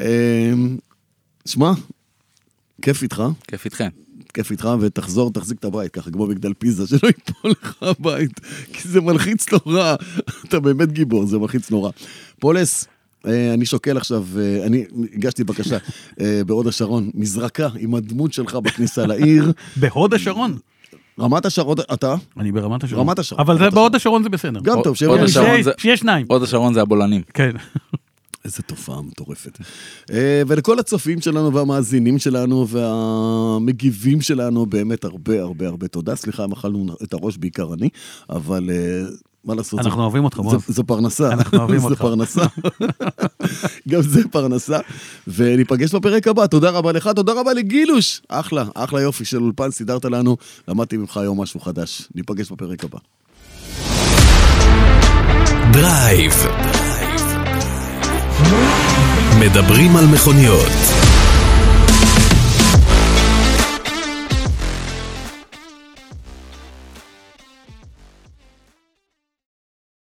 אה, שמע, כיף איתך, כיף איתכם. כיף איתך, ותחזור, תחזיק את הבית, ככה כמו מגדל פיזה, שלא ייפול לך הבית, כי זה מלחיץ נורא. אתה באמת גיבור, זה מלחיץ נורא. פולס, אה, אני שוקל עכשיו, אה, אני הגשתי בקשה אה, בהוד השרון, מזרקה עם הדמות שלך בכניסה לעיר. בהוד השרון. רמת השרון, אתה? אני ברמת השרון. רמת השרון. אבל זה רמת בהוד השרון זה בסדר. גם טוב, שיהיה הוד לנו שיהיה- השרון זה- שיהיה שניים. הוד השרון זה הבולענים. כן. איזה תופעה מטורפת. אה, ולכל הצופים שלנו והמאזינים שלנו והמגיבים שלנו, באמת הרבה הרבה הרבה תודה. סליחה אם אכלנו את הראש בעיקר אני, אבל אה, מה לעשות, אנחנו אוהבים אותך, זו, בועז. זו פרנסה. נכון? אנחנו אוהבים אותך. זו פרנסה. גם זה פרנסה. וניפגש בפרק הבא, תודה רבה לך, תודה רבה לגילוש. אחלה, אחלה יופי של אולפן, סידרת לנו, למדתי ממך היום משהו חדש. ניפגש בפרק הבא. דרייב. מדברים על מכוניות.